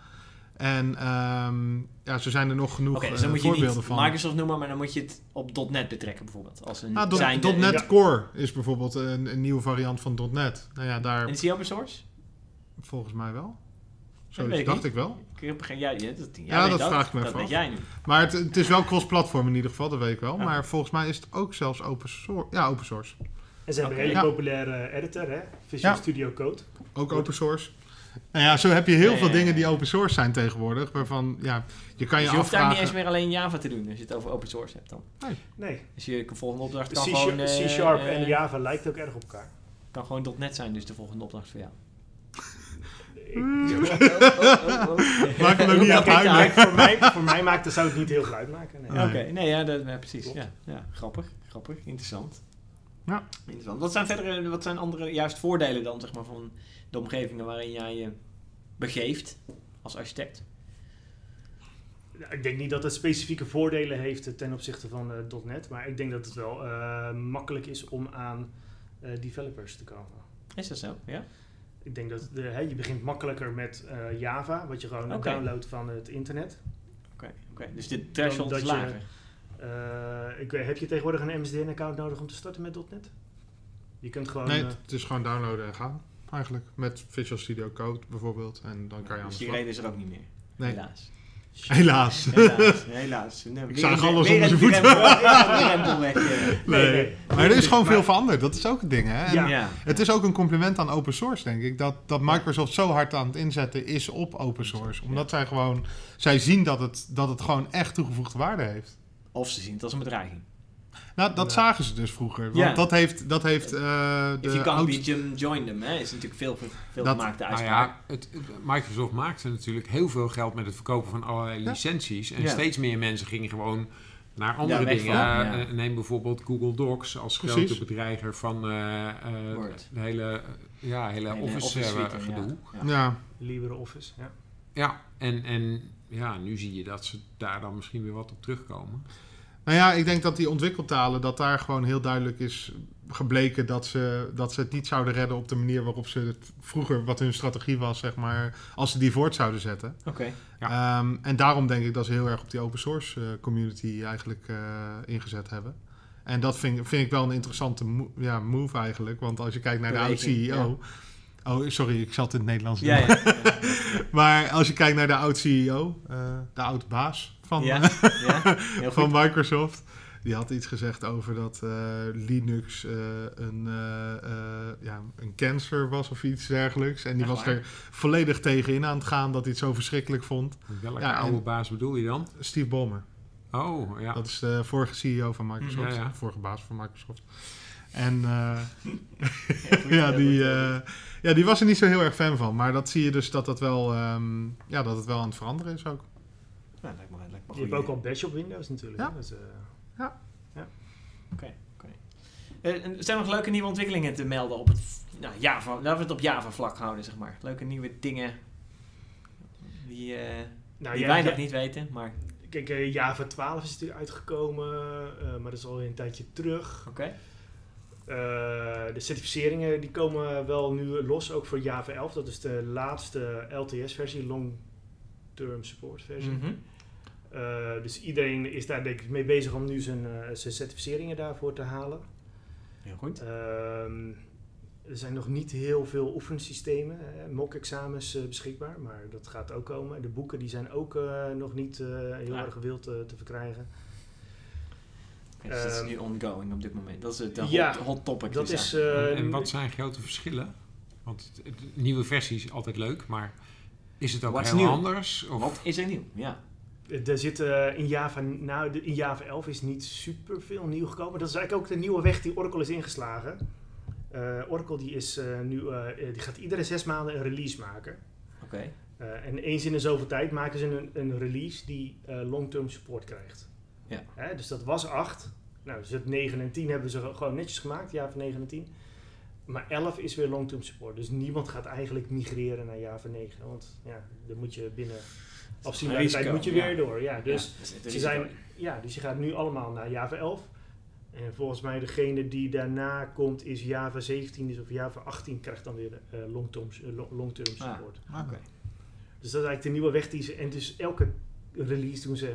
Speaker 3: En ehm, ja, ze zijn er nog genoeg
Speaker 1: Oké, dus dan
Speaker 3: eh,
Speaker 1: moet je
Speaker 3: voorbeelden
Speaker 1: niet
Speaker 3: van.
Speaker 1: Microsoft noemen, maar dan moet je het op .NET betrekken bijvoorbeeld. Als een
Speaker 3: Ah,
Speaker 1: zijnde-
Speaker 3: dot, .NET
Speaker 4: ja.
Speaker 3: Core is bijvoorbeeld een, een nieuwe variant van .NET. Nou ja, daar
Speaker 1: En is die open source?
Speaker 3: volgens mij wel.
Speaker 1: weet
Speaker 3: Zoiets
Speaker 1: ik
Speaker 3: dacht
Speaker 1: niet.
Speaker 3: ik wel.
Speaker 1: Ik heb geen... Ja, ja, dat, jij
Speaker 3: Ja,
Speaker 1: weet
Speaker 3: dat vraag ik me
Speaker 1: Dat
Speaker 3: even
Speaker 1: weet
Speaker 3: af.
Speaker 1: jij nu.
Speaker 3: Maar het, het is wel cross-platform in ieder geval, dat weet ik wel.
Speaker 1: Ja.
Speaker 3: Maar volgens mij is het ook zelfs open source. Ja, open source.
Speaker 4: En ze hebben
Speaker 1: Oké.
Speaker 4: een hele
Speaker 3: Ja.
Speaker 4: populaire editor, hè? Visual
Speaker 3: Ja.
Speaker 4: Studio Code.
Speaker 3: Ook
Speaker 4: Goed.
Speaker 3: open source. Nou ja, zo heb je heel
Speaker 1: Ja,
Speaker 3: veel
Speaker 1: ja, ja,
Speaker 3: dingen die
Speaker 1: ja.
Speaker 3: open source zijn tegenwoordig. Waarvan, ja, je kan je,
Speaker 1: Dus je hoeft daar niet eens
Speaker 3: afvragen...
Speaker 1: meer alleen Java te doen als je het over open source hebt dan.
Speaker 4: Nee,
Speaker 1: Dus je de volgende opdracht kan
Speaker 4: C-sharp
Speaker 1: gewoon... eh,
Speaker 4: C-sharp en
Speaker 1: eh,
Speaker 4: Java lijkt ook erg op elkaar.
Speaker 1: Kan gewoon .NET zijn, dus de volgende opdracht voor jou.
Speaker 4: Ik- oh.
Speaker 3: Maak hem
Speaker 1: Roep dat
Speaker 3: ook niet aan Hmm. het
Speaker 1: niet
Speaker 3: huilen.
Speaker 1: uit.
Speaker 4: voor, mij, voor mij maakt dat zou het niet heel veel uitmaken. Nee.
Speaker 1: Oké,
Speaker 3: Nee.
Speaker 1: nee, ja, dat, ja, precies.
Speaker 4: Ah, Klopt.
Speaker 1: Ja, ja, grappig, grappig, interessant.
Speaker 3: Ja.
Speaker 1: Interessant. Wat zijn verdere, wat zijn andere juist voordelen dan, zeg maar, van de omgevingen waarin jij je begeeft als architect?
Speaker 4: Nou, Ik denk niet dat het specifieke voordelen heeft eh, ten opzichte van eh, .NET, maar ik denk dat het wel eh, makkelijk is om aan eh, developers te komen.
Speaker 1: Is dat zo? Ja?
Speaker 4: Ik denk dat de, hè, je begint makkelijker met eh, Java, wat je gewoon
Speaker 1: Oké.
Speaker 4: downloadt van het internet.
Speaker 1: Oké, oké. dus de threshold
Speaker 4: dat
Speaker 1: is
Speaker 4: je-
Speaker 1: lager.
Speaker 4: Eh, ik, weet- heb je tegenwoordig een MSDN-account nodig om te starten met .NET? Je kunt gewoon...
Speaker 3: Nee,
Speaker 4: eh,
Speaker 3: het is gewoon downloaden en gaan. Eigenlijk. Met Visual Studio Code bijvoorbeeld. En dan kan je aan de
Speaker 1: dus die
Speaker 3: slag.
Speaker 1: reden is er ook niet meer.
Speaker 3: Nee.
Speaker 1: Helaas.
Speaker 3: Helaas.
Speaker 1: Helaas, helaas. Nee, weer
Speaker 3: zag
Speaker 1: een-
Speaker 3: alles
Speaker 1: weer
Speaker 3: onder
Speaker 1: een
Speaker 3: zijn voeten.
Speaker 1: drempel, weer een drempel weg, eh.
Speaker 4: Nee, nee.
Speaker 3: Maar er is gewoon
Speaker 4: Maar-
Speaker 3: veel veranderd. Dat is ook het ding, hè? En *laughs*
Speaker 4: Ja.
Speaker 1: ja.
Speaker 3: Het is ook een compliment aan open source, denk ik. Dat, dat Microsoft zo hard aan het inzetten is op open source. Omdat zij gewoon... Zij zien dat het, dat het gewoon echt toegevoegde waarde heeft.
Speaker 1: Of ze zien het als een bedreiging.
Speaker 3: Nou, dat
Speaker 4: Ja.
Speaker 3: zagen ze dus vroeger. Want
Speaker 1: Ja.
Speaker 3: dat heeft, dat heeft eh,
Speaker 1: If you
Speaker 3: de
Speaker 1: can't
Speaker 3: oud-
Speaker 1: beat them, join them. Hè? Is natuurlijk veel, veel
Speaker 3: Dat-
Speaker 1: gemaakte
Speaker 2: Nou
Speaker 1: uitspraak.
Speaker 2: ja, het, het- Microsoft maakte natuurlijk heel veel geld met het verkopen van allerlei
Speaker 3: Ja.
Speaker 2: licenties. En
Speaker 1: Ja.
Speaker 2: steeds meer mensen gingen gewoon naar andere
Speaker 1: Ja, weg
Speaker 2: dingen.
Speaker 1: van, ja.
Speaker 2: Eh, Neem bijvoorbeeld Google Docs als
Speaker 3: Precies.
Speaker 2: grote bedreiger van eh, eh,
Speaker 1: Word.
Speaker 2: de hele, ja, hele
Speaker 1: Hele
Speaker 2: office, eh,
Speaker 1: suite, ja.
Speaker 2: gedoe.
Speaker 1: Ja.
Speaker 3: Ja.
Speaker 4: LibreOffice, ja.
Speaker 2: Ja, en, en ja, nu zie je dat ze daar dan misschien weer wat op terugkomen.
Speaker 3: Nou ja, ik denk dat die ontwikkeltalen, dat daar gewoon heel duidelijk is gebleken dat ze, dat ze het niet zouden redden op de manier waarop ze het vroeger, wat hun strategie was, zeg maar, als ze die voort zouden zetten.
Speaker 1: Oké.
Speaker 3: Ehm, en daarom denk ik dat ze heel erg op die open source eh, community eigenlijk eh, ingezet hebben. En dat vind, vind ik wel een interessante mo- ja, move eigenlijk. Want als je kijkt naar de oude
Speaker 1: Beweging,
Speaker 3: CEO. Oh, sorry, ik zat in het Nederlands.
Speaker 1: Ja, ja, ja.
Speaker 3: Maar als je kijkt naar de oud CEO, eh, de oud baas *laughs* van, *laughs* eh,
Speaker 1: ja, ja. Heel
Speaker 3: van *laughs*
Speaker 1: goed.
Speaker 3: Microsoft. Die had iets gezegd over dat eh, Linux eh, een, eh, eh, ja, een cancer was of iets dergelijks. En die
Speaker 1: Echt
Speaker 3: was
Speaker 1: waar?
Speaker 3: er volledig tegenin aan het gaan dat hij het zo verschrikkelijk vond.
Speaker 2: Welke
Speaker 3: Ja, en-
Speaker 2: oude baas bedoel je dan?
Speaker 3: Steve Ballmer,
Speaker 2: Oh, ja.
Speaker 3: dat is de vorige CEO van
Speaker 1: Mm,
Speaker 3: Microsoft.
Speaker 2: Ja, ja.
Speaker 3: Vorige baas van Microsoft. En eh,
Speaker 1: Heel goed,
Speaker 3: ja,
Speaker 1: heel
Speaker 3: die,
Speaker 1: goed, heel goed.
Speaker 3: eh, ja, die was er niet zo heel erg fan van. Maar dat zie je dus dat, dat, wel, ehm, ja, dat het wel aan het veranderen is ook.
Speaker 1: Nou, lijkt me, lijkt me een
Speaker 4: Je hebt
Speaker 1: goeie.
Speaker 4: ook al Bash op Windows natuurlijk.
Speaker 3: Ja.
Speaker 4: hè, dus, eh,
Speaker 1: Eh, en zijn er nog leuke nieuwe ontwikkelingen te melden op het nou, Java? Laten we het op Java vlak houden, zeg maar. Leuke nieuwe dingen die, eh,
Speaker 4: nou,
Speaker 1: die
Speaker 4: ja,
Speaker 1: wij
Speaker 4: ja,
Speaker 1: nog niet weten, maar
Speaker 4: Kijk, eh, Java 12 is natuurlijk uitgekomen, eh, maar dat is alweer een tijdje terug.
Speaker 1: oké.
Speaker 4: Eh, de certificeringen die komen wel nu los, ook voor Java 11. Dat is de laatste LTS-versie, Long Term Support versie.
Speaker 1: Mhm.
Speaker 4: Eh, dus iedereen is daar denk ik mee bezig om nu zijn, eh, zijn certificeringen daarvoor te halen.
Speaker 1: Heel goed.
Speaker 4: Ehm, er zijn nog niet heel veel oefensystemen, eh, mock-examens eh, beschikbaar, maar dat gaat ook komen. De boeken die zijn ook eh, nog niet eh, heel
Speaker 1: Ah.
Speaker 4: erg gewild eh, te verkrijgen.
Speaker 1: Oké, dus dat is
Speaker 4: ehm,
Speaker 1: nu ongoing op dit moment. Dat is het eh, hot,
Speaker 4: ja,
Speaker 1: hot topic.
Speaker 4: dat
Speaker 1: dus
Speaker 4: is.
Speaker 1: ja.
Speaker 4: eh,
Speaker 2: en wat zijn grote verschillen? Want het- het- nieuwe versie is altijd leuk, maar is het ook
Speaker 1: What's
Speaker 2: heel
Speaker 1: new?
Speaker 2: anders? Of
Speaker 1: Wat is er nieuw? Ja.
Speaker 4: Er zit eh, in Java, nou, de- in Java 11 is niet super veel nieuw gekomen. Dat is eigenlijk ook de nieuwe weg die Oracle is ingeslagen. Eh, Oracle die is, eh, nu, eh, eh, die gaat iedere zes maanden een release maken.
Speaker 1: Oké.
Speaker 4: Eh, en eens in de zoveel tijd maken ze een, een release die eh, long-term support krijgt.
Speaker 1: Ja.
Speaker 4: Hè, dus dat was 8. Nou, dus het 9 en 10 hebben ze ge- gewoon netjes gemaakt, Java 9 en 10. Maar 11 is weer long-term support. Dus niemand gaat eigenlijk migreren naar Java 9. Want ja, dan moet je binnen afzienbare
Speaker 1: risico,
Speaker 4: tijd moet je
Speaker 1: ja.
Speaker 4: weer door. Ja, dus
Speaker 1: Ja, dat is het
Speaker 4: ze
Speaker 1: risico.
Speaker 4: zijn, ja, dus je gaat nu allemaal naar Java 11. En volgens mij degene die daarna komt is Java 17 dus of Java 18 krijgt dan weer eh, long-term eh, long- long-term
Speaker 1: Ah.
Speaker 4: support.
Speaker 1: Oké.
Speaker 4: Dus dat is eigenlijk de nieuwe weg die ze... En dus elke release doen ze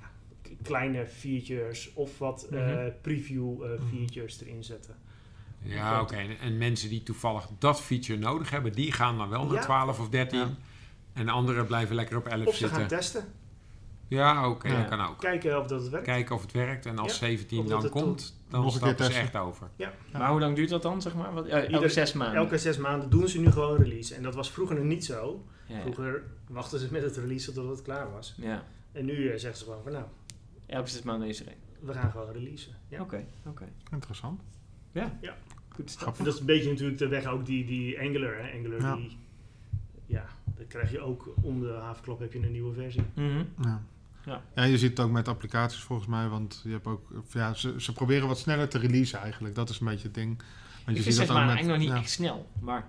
Speaker 4: ja, k- kleine features of wat eh,
Speaker 1: Mhm.
Speaker 4: preview eh,
Speaker 3: Mhm.
Speaker 4: features erin zetten.
Speaker 2: Ja, oké. En- En mensen die toevallig dat feature nodig hebben, die gaan dan wel naar
Speaker 4: Ja.
Speaker 2: 12 of 13.
Speaker 1: Ja.
Speaker 2: En anderen blijven lekker op 11
Speaker 4: Of ze gaan
Speaker 2: zitten.
Speaker 4: testen.
Speaker 2: Ja, oké,
Speaker 1: Ja.
Speaker 2: dat kan ook.
Speaker 4: Kijken of dat het werkt.
Speaker 2: Kijken of het werkt. En als
Speaker 4: Ja.
Speaker 2: 17
Speaker 4: Of dat
Speaker 2: dan
Speaker 4: het
Speaker 2: komt, dan
Speaker 3: Nog een keer
Speaker 2: stappen ze
Speaker 3: testen.
Speaker 2: echt over.
Speaker 1: Maar hoe lang duurt dat dan, zeg maar? Wat, eh, elke
Speaker 4: Ieder-
Speaker 1: zes maanden.
Speaker 4: Elke zes maanden doen ze nu gewoon een release. En dat was vroeger nog niet zo.
Speaker 1: Ja, ja.
Speaker 4: Vroeger wachten ze met het release totdat het klaar was.
Speaker 1: Ja.
Speaker 4: En nu eh, zeggen ze gewoon van nou,
Speaker 1: Elke zes maanden is er één.
Speaker 4: we gaan gewoon releasen. Ja.
Speaker 1: Oké, oké.
Speaker 3: Interessant.
Speaker 1: Goed stel.
Speaker 4: En dat is een beetje natuurlijk de weg ook die, die Angular. Hè? Angular
Speaker 3: Ja.
Speaker 4: die... Ja, dat krijg je ook om de havenklap heb je een nieuwe versie.
Speaker 1: Mhm.
Speaker 3: Ja.
Speaker 1: Ja.
Speaker 3: Ja. je ziet het ook met applicaties volgens mij, want je hebt ook, of ja, ze, ze proberen wat sneller te releasen eigenlijk. Dat is een beetje het ding. Want
Speaker 1: Ik
Speaker 3: je
Speaker 1: vind
Speaker 3: ziet
Speaker 1: zes
Speaker 3: dat ook
Speaker 1: maanden
Speaker 3: met,
Speaker 1: eigenlijk nog niet
Speaker 3: ja.
Speaker 1: echt snel, maar...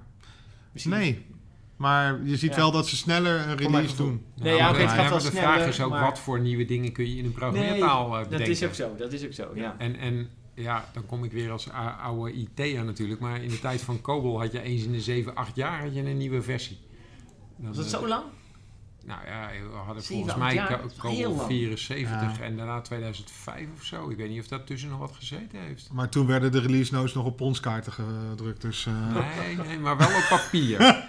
Speaker 1: misschien-
Speaker 3: Nee, maar je ziet
Speaker 1: Ja.
Speaker 3: wel dat ze sneller een
Speaker 1: mijn
Speaker 3: release
Speaker 1: gevoel.
Speaker 3: doen.
Speaker 1: Nee, ja,
Speaker 2: maar
Speaker 1: oké, het
Speaker 2: de-
Speaker 1: gaat wel
Speaker 2: maar de vraag
Speaker 1: sneller,
Speaker 2: is ook,
Speaker 1: maar-
Speaker 2: wat voor nieuwe dingen kun je in een programmeertaal eh, bedenken?
Speaker 1: Dat is ook zo, dat is ook zo, ja.
Speaker 2: En, en ja, dan kom ik weer als a- oude IT'er natuurlijk. Maar in de tijd van COBOL had je eens in de 7, 8 jaar had je een nieuwe versie. Dan,
Speaker 1: Was dat
Speaker 2: eh,
Speaker 1: zo lang?
Speaker 2: Nou ja, we hadden
Speaker 1: Zeven,
Speaker 2: volgens
Speaker 1: acht
Speaker 2: mij
Speaker 1: jaar,
Speaker 2: Co-
Speaker 1: dat is heel
Speaker 2: COBOL
Speaker 1: lang.
Speaker 2: 74
Speaker 3: Ja.
Speaker 2: en daarna 2005 of zo. Ik weet niet of dat tussen nog wat gezeten heeft.
Speaker 3: Maar toen werden de release notes nog op ponskaarten gedrukt, dus eh,
Speaker 2: Nee, nee, maar wel op papier.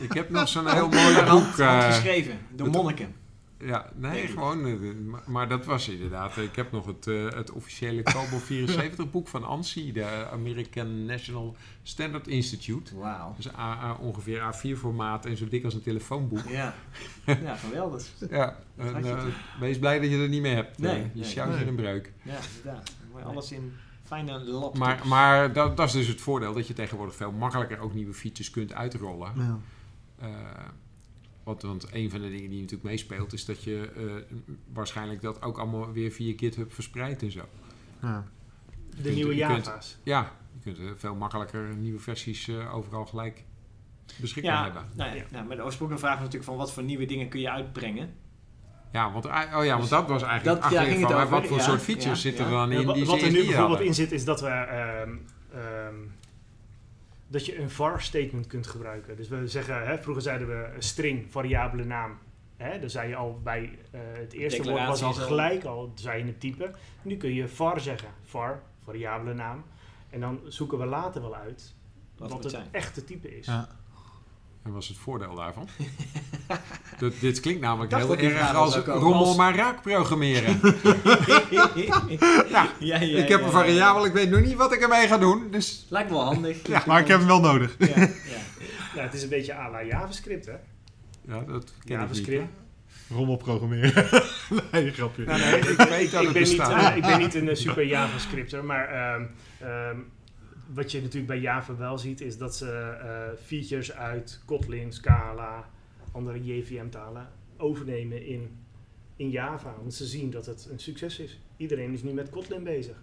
Speaker 2: ik heb nog zo'n heel mooi boek.
Speaker 1: Hand,
Speaker 2: eh,
Speaker 1: geschreven, door
Speaker 2: het-
Speaker 1: monniken.
Speaker 2: Ja, nee,
Speaker 1: Denk ik.
Speaker 2: gewoon. eh, maar- Maar dat was inderdaad. Ik heb nog het, eh, het officiële Cobol 74 boek van ANSI, de American National Standard Institute.
Speaker 1: Wauw.
Speaker 2: Dat is A- A- ongeveer A4 formaat en zo dik als een
Speaker 1: *laughs*
Speaker 2: telefoonboek. *laughs*
Speaker 1: Ja. ja, geweldig.
Speaker 2: Ja,
Speaker 1: Dat had
Speaker 2: en,
Speaker 1: je
Speaker 2: eh, wees blij dat je er niet meer hebt.
Speaker 1: Nee,
Speaker 2: Eh, je
Speaker 1: nee,
Speaker 2: sjouwt
Speaker 3: nee.
Speaker 2: in een breuk.
Speaker 1: Ja, inderdaad. Mooi, Alles in fijne laptops.
Speaker 2: Maar, maar dat, dat is dus het voordeel dat je tegenwoordig veel makkelijker ook nieuwe features kunt uitrollen.
Speaker 3: ja.
Speaker 2: Eh, want, want een van de dingen die natuurlijk meespeelt is dat je eh, waarschijnlijk dat ook allemaal weer via GitHub verspreidt en zo.
Speaker 3: ja.
Speaker 4: De
Speaker 2: kunt-
Speaker 4: nieuwe
Speaker 2: je kunt-
Speaker 4: Java's.
Speaker 2: Ja, je kunt eh, veel makkelijker nieuwe versies eh, overal gelijk beschikbaar
Speaker 1: ja,
Speaker 2: hebben.
Speaker 1: Nou, ja,
Speaker 4: Ja.
Speaker 1: Nou, maar de oorspronkelijke vraag was natuurlijk van wat voor nieuwe dingen kun je
Speaker 2: *laughs*
Speaker 1: uitbrengen.
Speaker 2: Ja, want, eh, oh ja, want dat was
Speaker 1: Dus
Speaker 2: eigenlijk
Speaker 1: Dat-
Speaker 2: het achtergrond
Speaker 1: daar ging het
Speaker 2: van, maar
Speaker 1: over,
Speaker 2: wat voor
Speaker 1: ja,
Speaker 2: soort features
Speaker 1: ja,
Speaker 2: zitten
Speaker 1: ja.
Speaker 2: er dan
Speaker 4: Ja,
Speaker 2: in
Speaker 4: wa-
Speaker 2: die
Speaker 4: wat
Speaker 2: ze
Speaker 4: er nu
Speaker 2: eerst niet
Speaker 4: bijvoorbeeld
Speaker 2: hadden?
Speaker 4: in zit, is dat we. ehm, ehm, dat je een var statement kunt gebruiken. Dus we zeggen, hè, vroeger zeiden we een string, variabele naam. Hè, dan zei je al bij eh, het eerste woord was
Speaker 1: Declaratie
Speaker 4: al
Speaker 1: is al-
Speaker 4: gelijk, al zei je het type. Nu kun je var zeggen. Var, variabele naam. En dan zoeken we later wel uit
Speaker 1: Wat
Speaker 4: wat,
Speaker 1: moet
Speaker 4: het
Speaker 1: zijn.
Speaker 4: echte type is.
Speaker 3: Ja.
Speaker 2: En was het voordeel daarvan? *laughs* dat, dit klinkt namelijk
Speaker 1: Ik dacht
Speaker 2: heel
Speaker 1: dat die
Speaker 2: erg
Speaker 1: vraag
Speaker 2: als
Speaker 1: was ook al.
Speaker 2: rommel
Speaker 1: Als-
Speaker 2: maar raak programmeren.
Speaker 1: ja, ja, ja,
Speaker 2: ik
Speaker 1: ja,
Speaker 2: heb een
Speaker 1: ja.
Speaker 2: variabel, ik weet nog niet wat ik ermee ga doen. Dus
Speaker 1: Lijkt me wel handig.
Speaker 3: Ja, maar ik heb hem wel nodig.
Speaker 1: Ja, ja.
Speaker 4: Nou, het is een beetje à la JavaScript, hè?
Speaker 2: ja, dat ken ik niet.
Speaker 4: JavaScript.
Speaker 3: Rommel programmeren. *laughs* nee, grapje.
Speaker 2: Nou, nee, ik weet dat
Speaker 4: *laughs* ik,
Speaker 2: het
Speaker 4: ben niet,
Speaker 2: bestaat.
Speaker 4: eh, ik ben niet een eh, super JavaScripter, maar ehm, ehm, wat je natuurlijk bij Java wel ziet, is dat ze eh, features uit Kotlin, Scala, andere JVM-talen overnemen in in Java. Want ze zien dat het een succes is. Iedereen is nu met Kotlin bezig.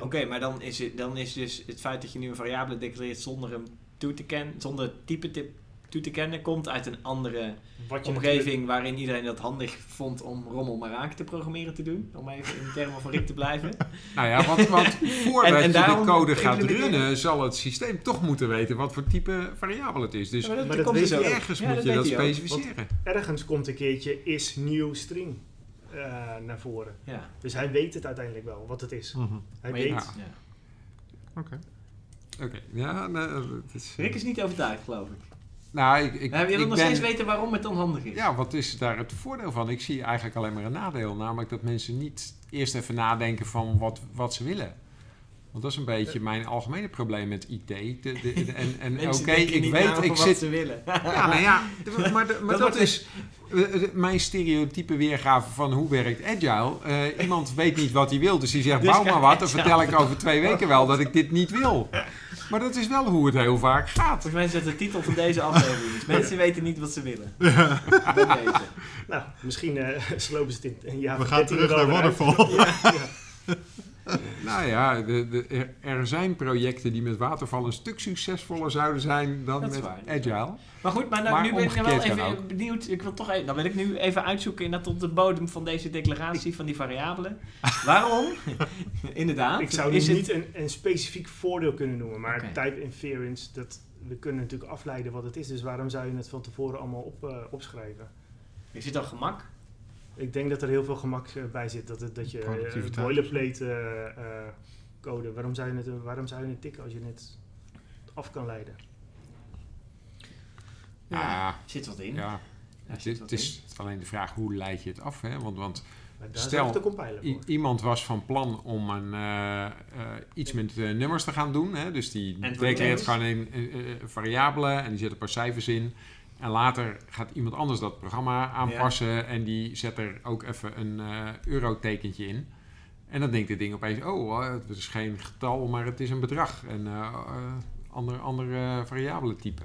Speaker 1: Oké, maar dan is, het, dan is dus het feit dat je nu een variabele declareert zonder hem toe te kennen, zonder het type tip toe te kennen, komt uit een andere
Speaker 4: Wat je natuurlijk-
Speaker 1: omgeving waarin iedereen dat handig vond om rommel maar raak te programmeren te doen. Om even in de termen van Rick te
Speaker 4: *laughs* Dus-
Speaker 1: blijven.
Speaker 2: Nou ja, want, want
Speaker 1: *laughs*
Speaker 2: voordat
Speaker 1: En- en
Speaker 2: je de
Speaker 1: daarom
Speaker 2: code gaat
Speaker 1: implementeren-
Speaker 2: runnen, zal het systeem toch moeten weten wat voor type variabel het is. Dus
Speaker 1: maar dat,
Speaker 4: dat
Speaker 1: komt
Speaker 4: weet
Speaker 1: dus ook.
Speaker 4: hij
Speaker 2: ergens
Speaker 1: Ja,
Speaker 2: moet je
Speaker 1: weet
Speaker 2: dat
Speaker 1: hij ook.
Speaker 2: specificeren.
Speaker 4: Ergens komt een keertje is nieuw string eh, naar voren.
Speaker 1: Ja,
Speaker 4: Dus hij weet het uiteindelijk wel wat het is.
Speaker 3: Mhm.
Speaker 4: Hij
Speaker 1: maar
Speaker 4: weet.
Speaker 1: je-
Speaker 2: Ja.
Speaker 1: ja.
Speaker 3: Oké.
Speaker 2: Oké, ja, nee, eh, het is...
Speaker 1: Rick is niet overtuigd, geloof ik.
Speaker 2: Nou, ik, ik,
Speaker 1: Nou, je
Speaker 2: ik
Speaker 1: wil nog
Speaker 2: ben-
Speaker 1: steeds weten waarom het onhandig is.
Speaker 2: Ja, wat is daar het voordeel van? Ik zie eigenlijk alleen maar een nadeel. Namelijk dat mensen niet eerst even nadenken van wat, wat ze willen. Want dat is een beetje mijn algemene probleem met IT. De, de, de- en en oké,
Speaker 1: Mensen denken
Speaker 2: ik
Speaker 1: niet na
Speaker 2: weet,
Speaker 1: over
Speaker 2: ik
Speaker 1: wat
Speaker 2: zit...
Speaker 1: ze willen. *laughs*
Speaker 2: Ja, nou ja, d- maar, maar dat,
Speaker 1: wordt
Speaker 2: is eh, eh, mijn stereotype weergave van hoe werkt Agile. Eh, iemand weet niet wat hij wil, dus die zegt
Speaker 1: Dus
Speaker 2: bouw maar
Speaker 1: ga
Speaker 2: wat. Dan
Speaker 1: Agile
Speaker 2: vertel ik over twee weken wel dat ik dit niet wil. Maar dat is wel hoe het heel vaak gaat.
Speaker 1: Volgens mij is dat de titel van deze aflevering.
Speaker 2: *laughs*
Speaker 1: is. Mensen weten niet wat ze willen. Bij deze.
Speaker 4: Nou, misschien eh, *laughs* slopen ze het in, in Java
Speaker 3: We gaan
Speaker 4: 13
Speaker 3: terug
Speaker 4: er wel
Speaker 3: naar
Speaker 4: weer uit.
Speaker 3: Waterfall.
Speaker 2: Nou ja, de, de, er, er zijn projecten die met waterval een stuk succesvoller zouden zijn dan
Speaker 1: Dat is
Speaker 2: met
Speaker 1: waar.
Speaker 2: agile.
Speaker 1: Maar goed, maar, nou,
Speaker 2: Maar
Speaker 1: nu ben ik nou wel
Speaker 2: omgekeerd
Speaker 1: even
Speaker 2: kan ook.
Speaker 1: benieuwd. Ik wil toch even, dan wil ik nu even uitzoeken inderdaad op de bodem van deze declaratie van die variabelen. Waarom? inderdaad.
Speaker 4: Ik zou nu
Speaker 1: is het-
Speaker 4: niet een, een specifiek voordeel kunnen noemen, maar
Speaker 1: Oké.
Speaker 4: type inference, dat, we kunnen natuurlijk afleiden wat het is. Dus waarom zou je het van tevoren allemaal op, eh, opschrijven?
Speaker 1: Is dit al gemak?
Speaker 4: Ik denk dat er heel veel gemak eh, bij zit. Dat, het- dat je eh,
Speaker 3: Productiviteit.
Speaker 4: boilerplate eh, eh, code, waarom zou, je het, eh, waarom zou je het tikken als je het af kan leiden?
Speaker 1: Ja.
Speaker 2: Ah,
Speaker 1: Er Zit wat in.
Speaker 2: ja.
Speaker 1: Daar
Speaker 2: Het
Speaker 1: zit
Speaker 2: is,
Speaker 1: wat
Speaker 2: het is alleen de vraag hoe leid je het af. Hè? Want, want
Speaker 4: Maar daar
Speaker 2: Stel,
Speaker 4: staat de compiler
Speaker 2: i-
Speaker 4: voor.
Speaker 2: iemand was van plan om een, eh, eh, iets met eh, nummers te gaan doen. Hè? Dus die
Speaker 1: En het wordt
Speaker 2: declareert
Speaker 1: nummers.
Speaker 2: gewoon een eh, eh, variabelen en die zet een paar cijfers in. En later gaat iemand anders dat programma aanpassen en die zet er ook even een eh, eurotekentje in. En dan denkt dit ding opeens, oh, eh, het is geen getal, maar het is een bedrag. Een eh eh, ander, ander eh, variabele type.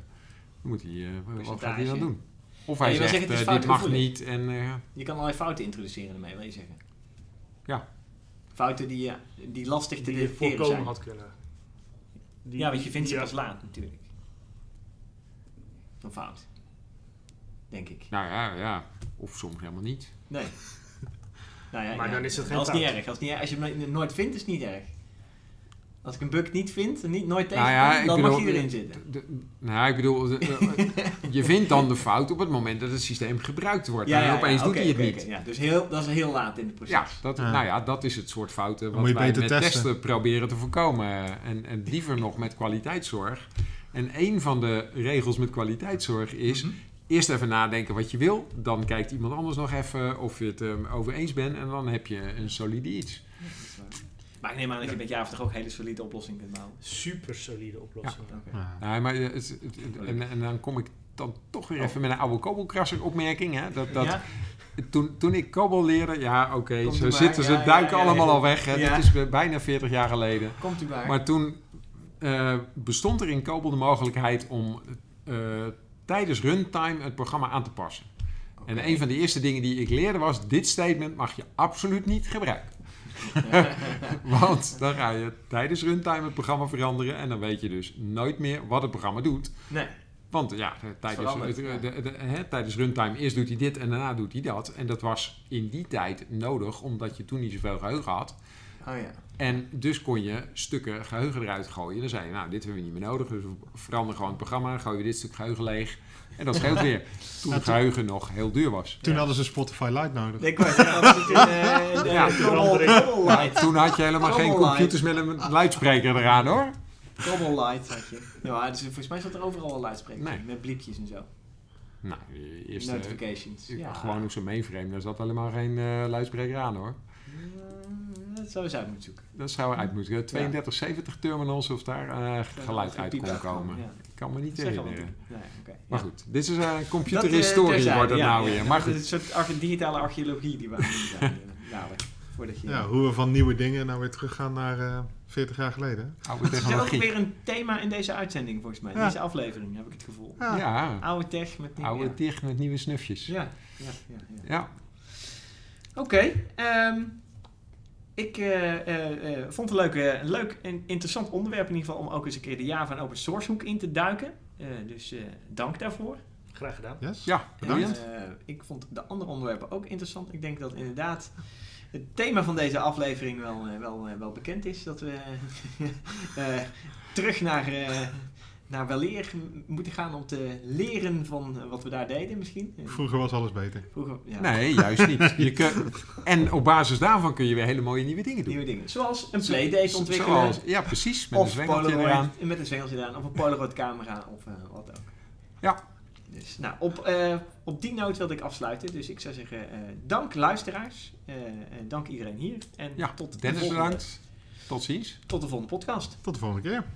Speaker 2: Dan moet hij, eh, wat gaat hij dan
Speaker 1: Percentage.
Speaker 2: doen? Of
Speaker 1: Ja,
Speaker 2: hij
Speaker 1: je wil
Speaker 2: zegt,
Speaker 1: zeggen, het is
Speaker 2: eh, dit mag
Speaker 1: foutgevoelig.
Speaker 2: niet. En, eh,
Speaker 1: Je kan allerlei fouten introduceren ermee, wil je zeggen.
Speaker 2: Ja.
Speaker 1: Fouten die, ja, die lastig te
Speaker 4: Die je
Speaker 1: detecteren zijn.
Speaker 4: voorkomen had kunnen. Die-
Speaker 1: Ja, want je vindt ze
Speaker 4: die-
Speaker 1: pas laat natuurlijk. Een fout. Denk ik.
Speaker 2: nou ja, ja, of soms helemaal niet.
Speaker 4: *laughs*
Speaker 1: Nee. nou ja,
Speaker 4: Maar
Speaker 1: ja.
Speaker 4: dan is het geen
Speaker 1: Als het niet
Speaker 4: fout.
Speaker 1: erg. Als, het niet erg. als je hem nooit vindt, is het niet erg. Als ik een bug niet vind en niet, nooit
Speaker 2: Nou
Speaker 1: tegenkom,
Speaker 2: ja, ik
Speaker 1: dan
Speaker 2: bedoel,
Speaker 1: mag je erin zitten.
Speaker 2: De, de- nou, ik bedoel, de- *laughs* de- je vindt dan de fout op het moment dat het systeem gebruikt wordt. en opeens doet
Speaker 1: oké,
Speaker 2: hij het
Speaker 1: oké,
Speaker 2: niet.
Speaker 1: oké, ja. Dus heel, dat is heel laat in het proces.
Speaker 2: Ja, dat,
Speaker 3: Ja.
Speaker 2: nou ja, dat is het soort fouten wat
Speaker 3: moet je
Speaker 2: wij
Speaker 3: beter
Speaker 2: met testen.
Speaker 3: testen.
Speaker 2: proberen te voorkomen. En, en liever nog met kwaliteitszorg. En een van de regels met kwaliteitszorg is...
Speaker 1: Mhm.
Speaker 2: eerst even nadenken wat je wil. Dan kijkt iemand anders nog even of je het ehm, over eens bent. En dan heb je een solide iets.
Speaker 1: Dat is waar. Maar ik neem aan dat je met Java toch ook hele solide oplossingen kunt bouwen.
Speaker 4: Super solide oplossing.
Speaker 1: Oké.
Speaker 3: Ja.
Speaker 2: Nee, maar het, het- het- en, en dan kom ik dan toch
Speaker 1: Oh.
Speaker 2: weer even met een oude kobbelkrasser opmerking. Hè? Dat, dat,
Speaker 1: Ja?
Speaker 2: Toen, toen ik kobbel leerde, ja oké,
Speaker 1: Komt
Speaker 2: zo
Speaker 1: u maar.
Speaker 2: zitten ze,
Speaker 1: Ja, ja,
Speaker 2: duiken
Speaker 1: ja, ja.
Speaker 2: allemaal al weg. Hè?
Speaker 1: Ja.
Speaker 2: Dit is eh, bijna 40 jaar geleden.
Speaker 1: Komt u maar.
Speaker 2: Maar toen eh, bestond er in Cobol de mogelijkheid om eh, tijdens runtime het programma aan te passen.
Speaker 1: Oké.
Speaker 2: En een van de eerste dingen die ik leerde was: dit statement mag je absoluut niet gebruiken.
Speaker 1: *laughs*
Speaker 2: Want dan ga je tijdens runtime het programma veranderen en dan weet je dus nooit meer wat het programma doet.
Speaker 1: *laughs* Nee.
Speaker 2: Want ja, eh, tijdens,
Speaker 1: verandert,
Speaker 2: het-
Speaker 1: ja.
Speaker 2: de- de- hè, tijdens runtime eerst doet hij dit en daarna doet hij dat. En dat was in die tijd nodig, omdat je toen niet zoveel geheugen had.
Speaker 1: Oh ja.
Speaker 2: En dus kon je stukken geheugen eruit gooien. Dan zei je, nou, dit hebben we niet meer nodig. Dus we veranderen gewoon het programma. Gooien we dit stuk geheugen leeg. En dat scheelt weer. Toen het geheugen nog heel duur was.
Speaker 3: Toen
Speaker 1: Ja.
Speaker 3: hadden ze Spotify Lite nodig.
Speaker 1: Ik was het in eh, de
Speaker 2: Ja.
Speaker 1: Trommel-
Speaker 2: Nou,
Speaker 1: Trommel-light.
Speaker 2: toen had je helemaal geen
Speaker 1: Allemaal
Speaker 2: computers met een luidspreker eraan, hoor.
Speaker 1: Trommel-light had je. Ja, dus volgens mij zat er overal een luidspreker
Speaker 2: Nee.
Speaker 1: in, met bliepjes en zo.
Speaker 2: Nou, eerst... eh,
Speaker 1: Notifications. Ja.
Speaker 2: Gewoon op zo'n mainframe, daar zat helemaal geen eh, luidspreker aan hoor.
Speaker 1: Mm, Dat zou eens uit moeten zoeken.
Speaker 2: Dat zou uit moeten. 3270 terminals of daar eh, geluid
Speaker 1: Of een
Speaker 2: uit
Speaker 1: piep
Speaker 2: kon
Speaker 1: uitkwam,
Speaker 2: komen.
Speaker 1: ja.
Speaker 2: Ik kan me niet
Speaker 1: Dat zeggen we
Speaker 2: herinneren.
Speaker 1: natuurlijk. Nee, oké.
Speaker 2: Maar
Speaker 1: Ja.
Speaker 2: goed, dit is een
Speaker 1: Dat, eh,
Speaker 2: computerhistorie
Speaker 1: terzijde,
Speaker 2: wordt dat
Speaker 1: ja,
Speaker 2: nou
Speaker 1: ja.
Speaker 2: weer. Maar goed,
Speaker 1: Het is een soort arche- digitale archeologie die we aan het doen zijn, eh, dadelijk. Voordat je...
Speaker 3: Ja, hoe we van nieuwe dingen nou weer teruggaan naar eh 40 jaar geleden.
Speaker 2: oude
Speaker 1: Het is ook
Speaker 2: technologie.
Speaker 1: weer een thema in deze uitzending, volgens mij. In
Speaker 3: Ja.
Speaker 1: deze aflevering, heb ik het gevoel.
Speaker 3: Ja.
Speaker 2: Ja,
Speaker 1: Oude tech met nieuwe...
Speaker 2: oude dicht met nieuwe snufjes. Ja,
Speaker 1: Ja, ja, ja. ja.
Speaker 2: ja.
Speaker 1: Oké, ehm, ik eh, eh, eh, vond het leuk, eh, een leuk en interessant onderwerp in ieder geval om ook eens een keer de Java en open source hoek in te duiken. Eh, dus eh, dank daarvoor.
Speaker 4: Graag gedaan.
Speaker 3: Yes?
Speaker 2: Ja, bedankt.
Speaker 1: En, eh, ik vond de andere onderwerpen ook interessant. Ik denk dat inderdaad het thema van deze aflevering wel, eh, wel, eh, wel bekend is. Dat we *laughs* eh, terug naar, eh naar weleer moeten gaan om te leren van eh, wat we daar deden misschien. En
Speaker 3: Vroeger was alles beter.
Speaker 1: Vroeger, ja,
Speaker 2: Nee, juist niet. Je kun- en op basis daarvan kun je weer hele mooie nieuwe dingen doen.
Speaker 1: nieuwe dingen. Zoals een playdate ontwikkelen.
Speaker 2: Zoals- ja, precies. Met een
Speaker 1: of
Speaker 2: zwengeltje
Speaker 1: Polaroid,
Speaker 2: eraan.
Speaker 1: met een zwengeltje eraan. Of een Polaroid camera of eh, wat ook.
Speaker 2: Ja.
Speaker 1: Dus, nou, op, eh, op die noot wilde ik afsluiten. Dus ik zou zeggen, eh, dank luisteraars. Eh, eh, dank iedereen hier. En
Speaker 2: Ja,
Speaker 1: tot, de
Speaker 2: Dennis
Speaker 1: volgende,
Speaker 2: bedankt. Tot ziens.
Speaker 1: tot de volgende podcast.
Speaker 3: Tot de volgende keer.